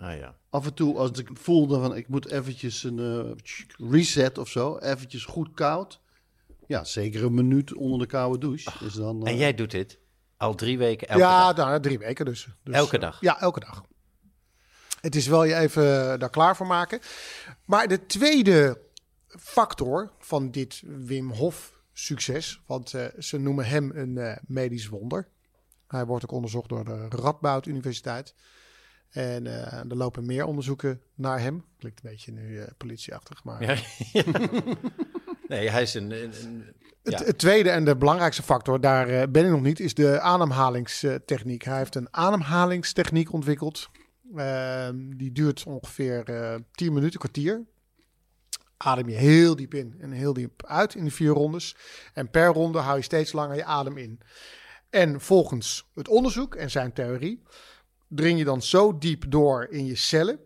S1: Ah ja.
S3: Af en toe, als ik voelde van ik moet eventjes een eh, tsk, reset of zo, eventjes goed koud. Ja, zeker een minuut onder de koude douche. Dus dan, eh,
S1: En jij doet dit al drie weken elke
S2: ja,
S1: dag.
S2: nou, drie weken dus. Dus,
S1: Elke dag?
S2: Ja, elke dag. Het is wel je even daar klaar voor maken. Maar de tweede factor van dit Wim Hof succes, want eh, ze noemen hem een eh, medisch wonder. Hij wordt ook onderzocht door de Radboud Universiteit. En eh, er lopen meer onderzoeken naar hem. Klinkt een beetje nu eh, politieachtig, maar...
S1: Ja. nee, hij is een... een- een-
S2: Het,
S1: ja.
S2: het tweede en de belangrijkste factor, daar eh, ben ik nog niet, is de ademhalingstechniek. Hij heeft een ademhalingstechniek ontwikkeld. Ehm, die duurt ongeveer eh 10 minuten, een kwartier. Adem je heel diep in en heel diep uit in de vier rondes. En per ronde hou je steeds langer je adem in. En volgens het onderzoek en zijn theorie dring je dan zo diep door in je cellen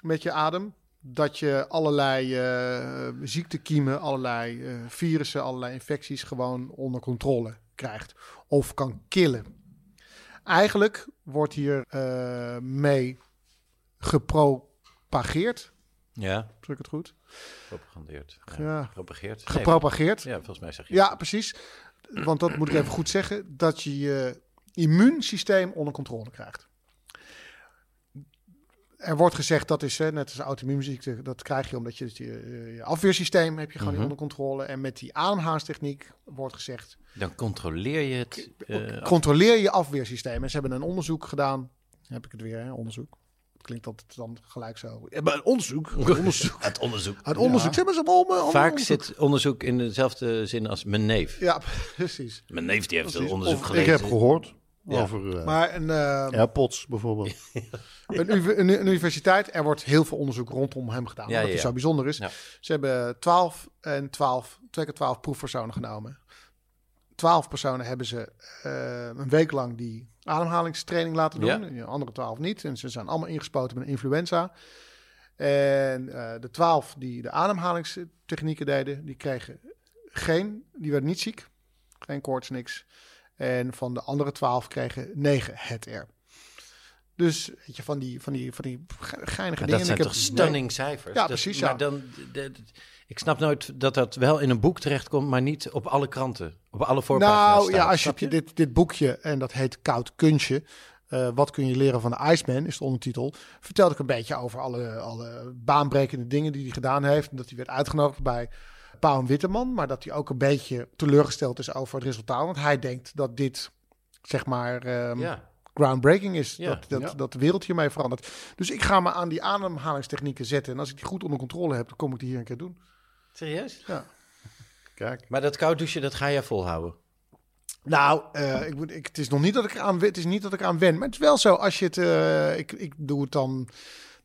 S2: met je adem. Dat je allerlei eh, ziektekiemen, allerlei eh, virussen, allerlei infecties gewoon onder controle krijgt. Of kan killen. Eigenlijk wordt hier eh, mee gepropageerd.
S1: ja,
S2: Druk het goed?
S1: propagandeert.
S2: Ja.
S1: Ja, gepropageerd. Nee,
S2: Gepropageerd.
S1: ja, volgens mij zeg je.
S2: Ja, precies. Want dat moet ik even goed zeggen: dat je je immuunsysteem onder controle krijgt. Er wordt gezegd dat is hè, net als auto-immuunziekte, dat krijg je omdat je je, eh, je afweersysteem heb je gewoon niet
S1: Mhm.
S2: onder controle. En met die ademhalingstechniek wordt gezegd
S1: Dan controleer je het. eh,
S2: controleer je afweersysteem. En ze hebben een onderzoek gedaan. Dan heb ik het weer, hè? onderzoek. Het klinkt altijd dan gelijk zo. Ja, maar een onderzoek. Een onderzoek.
S1: het onderzoek.
S2: Het onderzoek. Ze eh, hebben ze allemaal allemaal
S1: Vaak
S2: onderzoek.
S1: zit onderzoek in dezelfde zin als mijn neef.
S2: Ja, precies.
S1: Mijn neef die heeft het
S3: Precies.
S1: onderzoek
S3: Of ik
S1: gelezen.
S3: heb gehoord
S1: Ja.
S3: over eh,
S2: Maar een, eh,
S3: AirPods bijvoorbeeld.
S2: een, uv- een, een universiteit. Er wordt heel veel onderzoek rondom hem gedaan.
S1: Ja,
S2: omdat
S1: ja,
S2: hij
S1: ja.
S2: zo bijzonder is.
S1: Ja.
S2: Ze hebben 12 en 12, twee keer 12 proefpersonen genomen. 12 personen hebben ze eh, een week lang die ademhalingstraining laten doen.
S1: Ja.
S2: En de andere 12 niet. En ze zijn allemaal ingespoten met een influenza. En eh, de 12 die de ademhalingstechnieken deden, die kregen geen, die werden niet ziek. Geen koorts, niks. En van de andere 12 kregen 9 het er. Dus weet je, van die, van die, van die ge- geinige
S1: Maar
S2: dingen.
S1: dat
S2: En
S1: zijn
S2: ik
S1: toch
S2: heb-
S1: stunning cijfers?
S2: Ja,
S1: Dat-
S2: precies, ja.
S1: Maar dan, d- d- d- ik snap nooit dat dat wel in een boek terechtkomt, maar niet op alle kranten. Op alle voorpagina's
S2: Nou
S1: staat,
S2: ja, als je,
S1: snap
S2: op je dit, dit boekje, en dat heet Koud Kunstje. eh, wat kun je leren van de Iceman, is de ondertitel. Vertelde ik een beetje over alle, alle baanbrekende dingen die hij gedaan heeft. En dat hij werd uitgenodigd bij Pauw en Witteman. Maar dat hij ook een beetje teleurgesteld is over het resultaat. Want hij denkt dat dit, zeg maar, ehm,
S1: Ja.
S2: groundbreaking is.
S1: Ja,
S2: dat, dat,
S3: ja.
S2: dat de wereld hiermee verandert. Dus ik ga me aan die ademhalingstechnieken zetten. En als ik die goed onder controle heb, dan kom ik die hier een keer doen.
S1: Serieus?
S3: Kijk.
S1: Maar dat koud douchen, dat ga jij volhouden.
S2: Nou, eh, ik, moet- ik, het is nog niet dat ik eraan, wen- het is niet dat ik eraan wen. Maar het is wel zo, als je het... eh, ik, ik doe het dan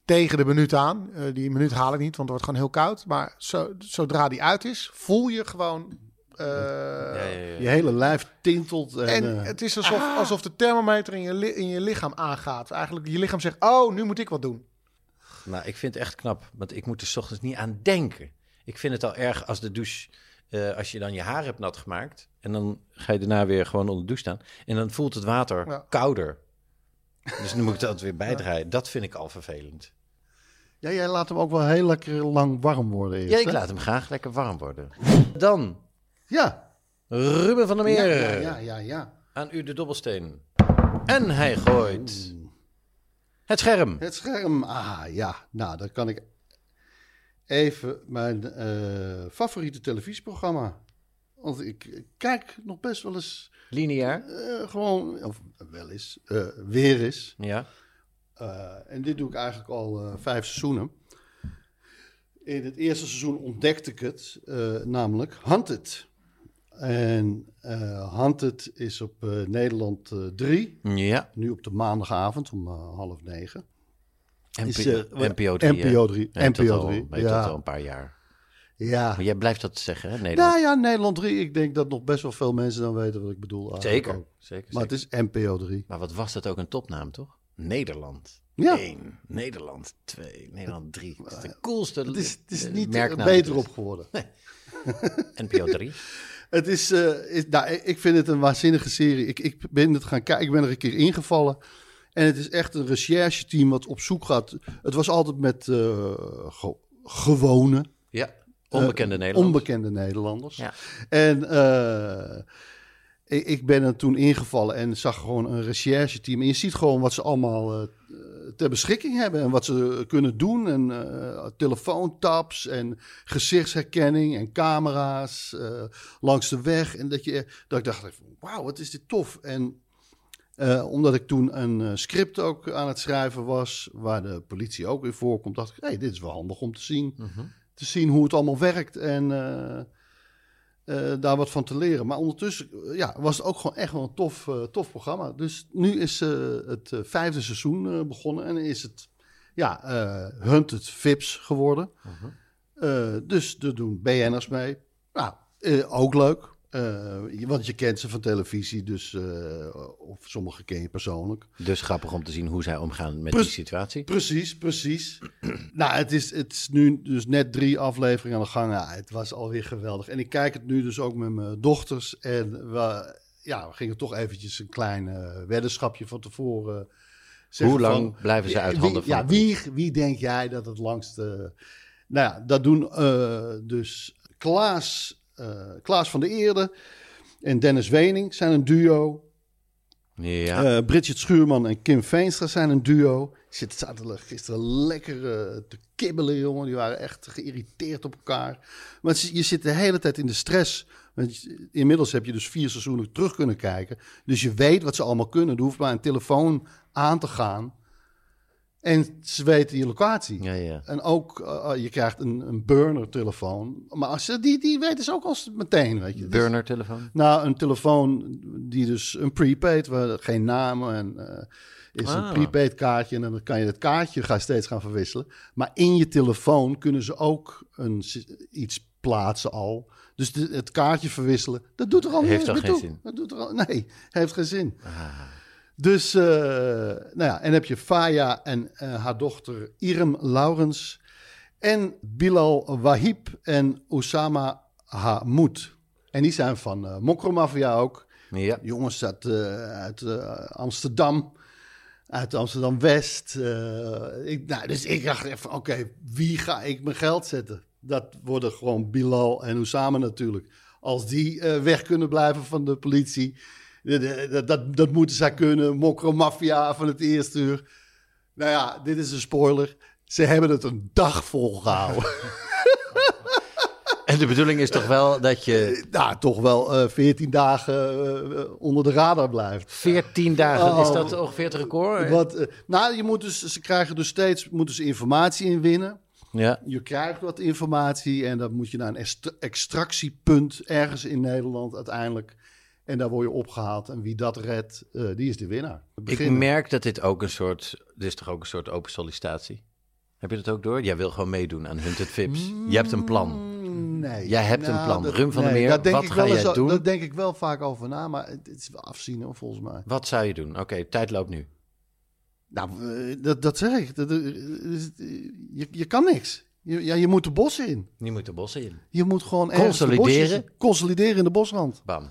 S2: tegen de minuut aan. Eh, die minuut haal ik niet, want het wordt gewoon heel koud. Maar zo, zodra die uit is, voel je gewoon... eh,
S1: ja, ja, ja.
S3: Je hele lijf tintelt. En,
S2: En
S3: eh,
S2: het is alsof, alsof de thermometer in je, li- in je lichaam aangaat. Eigenlijk je lichaam zegt, oh, nu moet ik wat doen.
S1: Nou, ik vind het echt knap, want ik moet er 's ochtends niet aan denken. Ik vind het al erg als de douche, eh, als je dan je haar hebt nat gemaakt en dan ga je daarna weer gewoon onder de douche staan en dan voelt het water
S2: Ja.
S1: kouder. Dus dan moet ik dat weer bijdraaien. Dat vind ik al vervelend.
S3: ja, jij laat hem ook wel heel lekker lang warm worden. Eerst,
S1: Ja, ik
S3: hè?
S1: laat hem graag lekker warm worden. Dan
S3: Ja.
S1: Ruben van der
S3: Ja,
S1: Meer
S3: ja, ja, ja, ja.
S1: aan u de dobbelsteen. En hij gooit het scherm.
S3: Het scherm. Ah, ja. Nou, dan kan ik even mijn eh, favoriete televisieprogramma. Want ik kijk nog best wel eens
S1: Lineair.
S3: eh, gewoon, of wel eens, eh, weer eens.
S1: Ja.
S3: Eh, en dit doe ik eigenlijk al eh, vijf seizoenen. In het eerste seizoen ontdekte ik het, eh, namelijk Hunted. En eh Hunted is op eh, Nederland 3,
S1: Ja.
S3: nu op de maandagavond om eh, half negen. Is, eh,
S1: NPO, NPO 3. hè?
S3: NPO 3.
S1: Heet dat
S3: NPO
S1: al-
S3: 3.
S1: heet dat al een paar jaar.
S3: Ja.
S1: Maar jij blijft dat zeggen, hè? Nederland.
S3: Nou ja, Nederland 3. Ik denk dat nog best wel veel mensen dan weten wat ik bedoel. eigenlijk
S1: zeker.
S3: ook.
S1: zeker,
S3: Maar het
S1: zeker.
S3: is NPO 3.
S1: maar wat was dat ook een topnaam, toch? Nederland.
S3: Ja.
S1: 1, Nederland 2, Nederland 3. Het is de coolste
S3: Het is, het is
S1: eh,
S3: niet eh,
S1: merknaam.
S3: beter op geworden.
S1: NPO 3.
S3: Het is, eh, is- nou, ik vind het een waanzinnige serie. Ik, ik ben het gaan kijken, ik ben er een keer ingevallen. En het is echt een recherche-team wat op zoek gaat. Het was altijd met eh, ge- gewone,
S1: Ja, Eh, onbekende Nederland.
S3: onbekende Nederlanders.
S1: Ja.
S3: En eh, ik, ik ben er toen ingevallen en zag gewoon een recherche-team. En je ziet gewoon wat ze allemaal eh, ter beschikking hebben en wat ze kunnen doen. En eh, telefoontaps en gezichtsherkenning en camera's eh, langs de weg. En dat, je, dat ik dacht, wauw, wat is dit tof. En Eh, omdat ik toen een eh, script ook aan het schrijven was, waar de politie ook in voorkomt, dacht ik, hey, dit is wel handig om te zien. Te zien hoe het allemaal werkt en eh, eh, daar wat van te leren. Maar ondertussen eh, ja, was het ook gewoon echt wel een tof, eh, tof programma. Dus nu is eh, het eh, vijfde seizoen eh, begonnen en is het ja, eh Hunted Vips geworden. Eh, dus er doen BN'ers mee. Nou, eh, ook leuk. Eh, je- want je kent ze van televisie, dus eh, of sommige ken je persoonlijk.
S1: Dus grappig om te zien hoe zij omgaan met
S3: Prus-
S1: die situatie.
S3: Precies, precies. nou, het is, het is nu dus net drie afleveringen aan de gang. Ja, het was alweer geweldig. En ik kijk het nu dus ook met mijn dochters. En we, ja, we gingen toch eventjes een klein eh, weddenschapje van tevoren eh, zeggen
S1: Hoe lang
S3: van,
S1: blijven ze uit
S3: wie-
S1: handen van
S3: Ja,
S1: de
S3: wie, wie denk jij dat het langst... eh, nou ja, dat doen eh, dus Klaas, eh, Klaas van der Eerde en Dennis Wening zijn een duo.
S1: Ja.
S3: Eh, Bridget Schuurman en Kim Veenstra zijn een duo. Ik Zit zaterdag gisteren lekker eh, te kibbelen, jongen. Die waren echt geïrriteerd op elkaar. Maar het is- je zit de hele tijd in de stress. Want je- inmiddels heb je dus vier seizoenen terug kunnen kijken. Dus je weet wat ze allemaal kunnen. Er hoeft maar een telefoon aan te gaan. En ze weten je locatie.
S1: ja, ja.
S3: En ook, eh, je krijgt een, een burner-telefoon. Maar als ze, die, die weten ze ook als meteen, weet je. Dus-
S1: Burner telefoon.
S3: nou, een telefoon die dus een prepaid, waar geen naam en eh, is
S1: Ah.
S3: een prepaid kaartje. En dan kan je dat kaartje ga steeds gaan verwisselen. Maar in je telefoon kunnen ze ook een, sy- iets plaatsen al. Dus de- het kaartje verwisselen, dat doet er al niet
S1: Heeft
S3: eens
S1: toch
S3: meer
S1: geen
S3: toe.
S1: zin? Ah.
S3: Dat doet er al, nee, heeft geen zin. Dus, eh, nou ja, en heb je Faya en eh, haar dochter Irem Laurens. En Bilal Wahib en Osama Hamoud. En die zijn van eh Mokromafia ook.
S1: Ja.
S3: Jongens uit, eh, uit eh, Amsterdam. Uit Amsterdam-West. Eh, ik- nou, dus ik dacht even, oké, wie ga ik mijn geld zetten? Dat worden gewoon Bilal en Osama natuurlijk. Als die eh, weg kunnen blijven van de politie. de- de- Dat, dat, dat moeten zij kunnen. Mokromafia van het eerste uur. Nou ja, dit is een spoiler. Ze hebben het een dag volgehouden.
S1: En de bedoeling is toch wel dat je
S3: nou, toch wel eh 14 dagen eh, eh, onder de radar blijft.
S1: 14 dagen, is
S3: Oh.
S1: dat ongeveer het record?
S3: Wat, eh, nou, je moet dus, ze krijgen dus steeds moeten ze informatie inwinnen.
S1: Ja.
S3: Je krijgt wat informatie en dan moet je naar een est- extractiepunt ergens in Nederland uiteindelijk. En daar word je opgehaald. En wie dat redt, eh, die is de winnaar. We
S1: Ik
S3: beginnen.
S1: merk dat dit ook een soort, dit is toch ook een soort open sollicitatie? Heb je dat ook door? Jij wil gewoon meedoen aan Hunted Vips. Je hebt een plan.
S3: Nee. Nou,
S1: Jij hebt een plan. Rum van der Meer,
S3: daar
S1: wat
S3: ik
S1: ga
S3: wel
S1: jij
S3: eens o-
S1: doen?
S3: Daar denk ik wel vaak over na, maar het, het is wel afzien hoor, volgens mij.
S1: Wat zou je doen? Oké, tijd loopt nu.
S3: Nou, eh, dat, dat zeg ik. Dat, eh, is- eh, je, je kan niks. Je, ja, je moet de bossen in.
S1: Nu moet de bossen in.
S3: Je moet gewoon ergens de
S1: Consolideren.
S3: bosjes in- consolideren in de bosrand.
S1: Bam.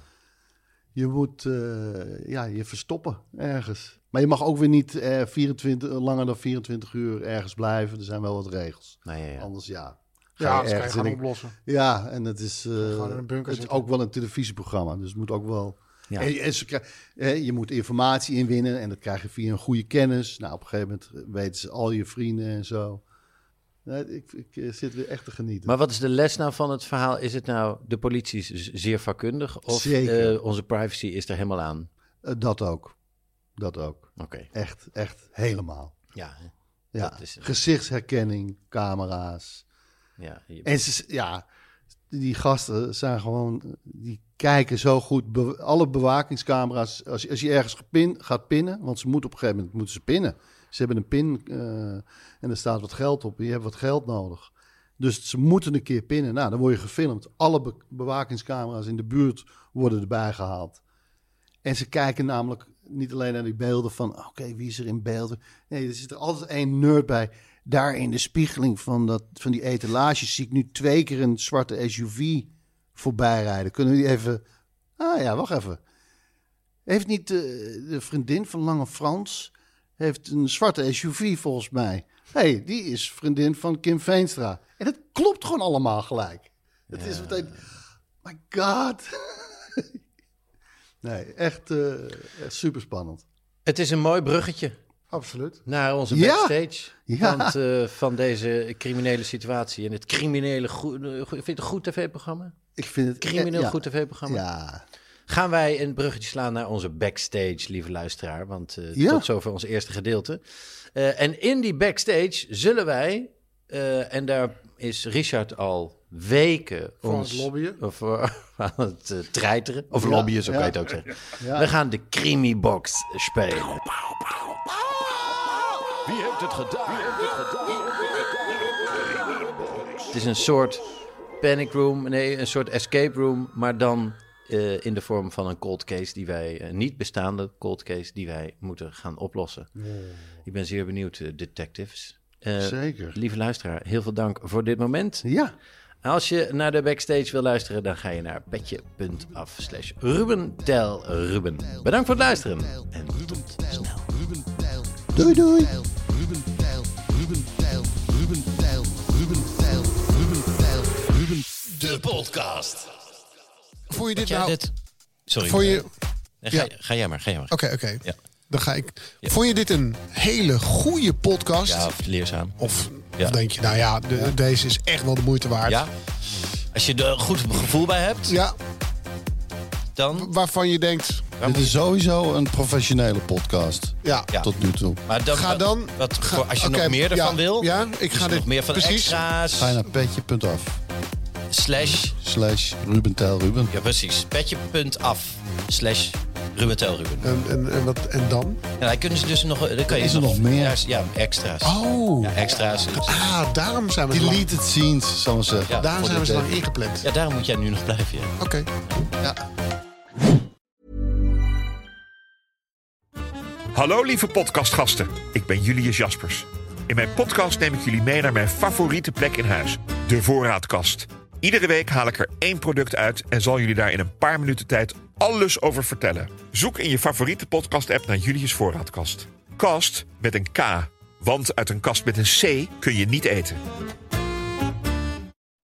S3: Je moet eh, ja, je verstoppen ergens. Maar je mag ook weer niet eh, 24, langer dan 24 uur ergens blijven. Er zijn wel wat regels.
S1: Nou ja, ja.
S3: Anders ja. ga
S2: Ja,
S3: je
S2: dat kan je
S3: ergens in
S2: gaan
S3: een-
S2: oplossen.
S3: Ja, en het is, eh,
S2: Gewoon in een bunker
S3: het is
S2: zitten.
S3: ook wel een televisieprogramma. Dus het moet ook wel...
S1: Ja.
S3: En, en ze krij- eh, je moet informatie inwinnen en dat krijg je via een goede kennis. Nou, op een gegeven moment weten ze al je vrienden en zo. Nee, ik, ik eh, zit weer echt te genieten.
S1: Maar wat is de les nou van het verhaal? Is het nou, de politie is z- zeer vakkundig? Of
S3: Zeker.
S1: eh, onze privacy is er helemaal aan?
S3: Eh, dat ook. Dat ook.
S1: Oké,
S3: Echt, echt helemaal.
S1: ja. hè.
S3: Ja.
S1: Dat is-
S3: Gezichtsherkenning, camera's.
S1: ja. je-
S3: En ze, ja, die gasten zijn gewoon, die kijken zo goed. Be- alle bewakingscamera's, als je, als je ergens gepin, gaat pinnen, want ze moeten op een gegeven moment moeten ze pinnen. Ze hebben een pin eh, en er staat wat geld op. en Je hebt wat geld nodig. Dus ze moeten een keer pinnen. Nou, dan word je gefilmd. Alle be- bewakingscamera's in de buurt worden erbij gehaald. En ze kijken namelijk niet alleen naar die beelden van, oké, wie is er in beelden? Nee, er zit er altijd één nerd bij. Daar in de spiegeling van, dat, van die etalage zie ik nu twee keer een zwarte SUV voorbij rijden. Kunnen we die even... Ah ja, wacht even. Heeft niet eh, de vriendin van Lange Frans... heeft een zwarte SUV volgens mij. hey, die is vriendin van Kim Veenstra. En dat klopt gewoon allemaal gelijk. Het is meteen... My god. nee, echt, eh, echt super spannend.
S1: Het is een mooi bruggetje
S2: Absoluut.
S1: naar onze
S3: Ja.
S1: backstage.
S3: Ja.
S1: Want, eh, van deze criminele situatie en het criminele... goe- eh, goe- vind je het een goed tv-programma?
S3: Ik vind het...
S1: Crimineel
S3: eh, ja.
S1: goed tv-programma?
S3: Ja.
S1: Gaan wij een bruggetje slaan naar onze backstage, lieve luisteraar. Want eh
S3: Ja.
S1: tot zover ons eerste gedeelte. Eh, en in die backstage zullen wij, eh, en daar is Richard al weken
S2: Voor
S1: ons,
S2: het lobbyen.
S1: Of voor- aan het eh, treiteren. Of
S3: Ja,
S1: lobbyen, zo kan
S3: ja.
S1: je het ook zeggen. We gaan de Creamy Box spelen. Wie heeft het gedaan? Het is een soort panic room, nee, een soort escape room, maar dan eh, in de vorm van een cold case die wij, een niet bestaande cold case die wij moeten gaan oplossen. Ik ben zeer benieuwd, eh, detectives. Eh,
S3: Zeker.
S1: Lieve luisteraar, heel veel dank voor dit moment.
S3: Ja.
S1: Nou, Als je naar de backstage wil luisteren, dan ga je naar petje.af slash Ruben Tel Ruben. Bedankt voor het luisteren en tot snel.
S3: Doei doei.
S1: De podcast.
S8: Vond je dit
S1: Ja,
S8: nou...
S1: dit... Sorry.
S8: Vond je...
S1: Nee, Ga,
S8: ja.
S1: ga jij maar, ga jij maar.
S8: Oké, oké.
S1: Ja.
S8: Dan ga ik... Vond je dit een hele goede podcast?
S1: Ja, of leerzaam.
S8: Of,
S1: Ja.
S8: of denk je, nou ja, de- deze is echt wel de moeite waard.
S1: Ja. Als je er goed gevoel bij hebt,
S8: Ja,
S1: dan...
S8: waarvan je denkt,
S3: Dit is sowieso een professionele podcast.
S8: ja,
S1: Ja.
S3: Tot nu toe.
S1: Maar dan,
S8: ga dan...
S1: Wat,
S8: ga-
S1: voor- als je
S8: oké,
S1: nog meer ervan
S8: ja,
S1: wil,
S8: Ja, ik ga
S1: als je
S8: dit...
S1: nog meer van
S8: precies,
S1: extra's,
S3: Ga je naar petje.af
S1: slash...
S3: slash Ruben Tijl Ruben.
S1: Ja, precies. Petje.af slash Ruben Tel Ruben.
S8: En, en, en, wat, en dan?
S1: En daar kunnen ze dus nog... Dan kan je
S3: Is er nog meer?
S1: Ja, Ja, extra's.
S8: Oh,
S1: Ja, extra's.
S8: ah, daarom zijn we zo lang,
S3: Deleted scenes, zal ik zeggen.
S1: Ja.
S8: daarom
S1: voor
S8: zijn we
S1: dit,
S8: zo lang
S1: eh,
S8: ingepland.
S1: Ja, daarom moet jij nu nog blijven, ja.
S8: Oké.
S9: Hallo lieve podcastgasten, ik ben Julius Jaspers. In mijn podcast neem ik jullie mee naar mijn favoriete plek in huis, de voorraadkast. Iedere week haal ik er één product uit en zal jullie daar in een paar minuten tijd alles over vertellen. Zoek in je favoriete podcast-app naar Julius Voorraadkast. Kast met een K, want uit een kast met een C kun je niet eten.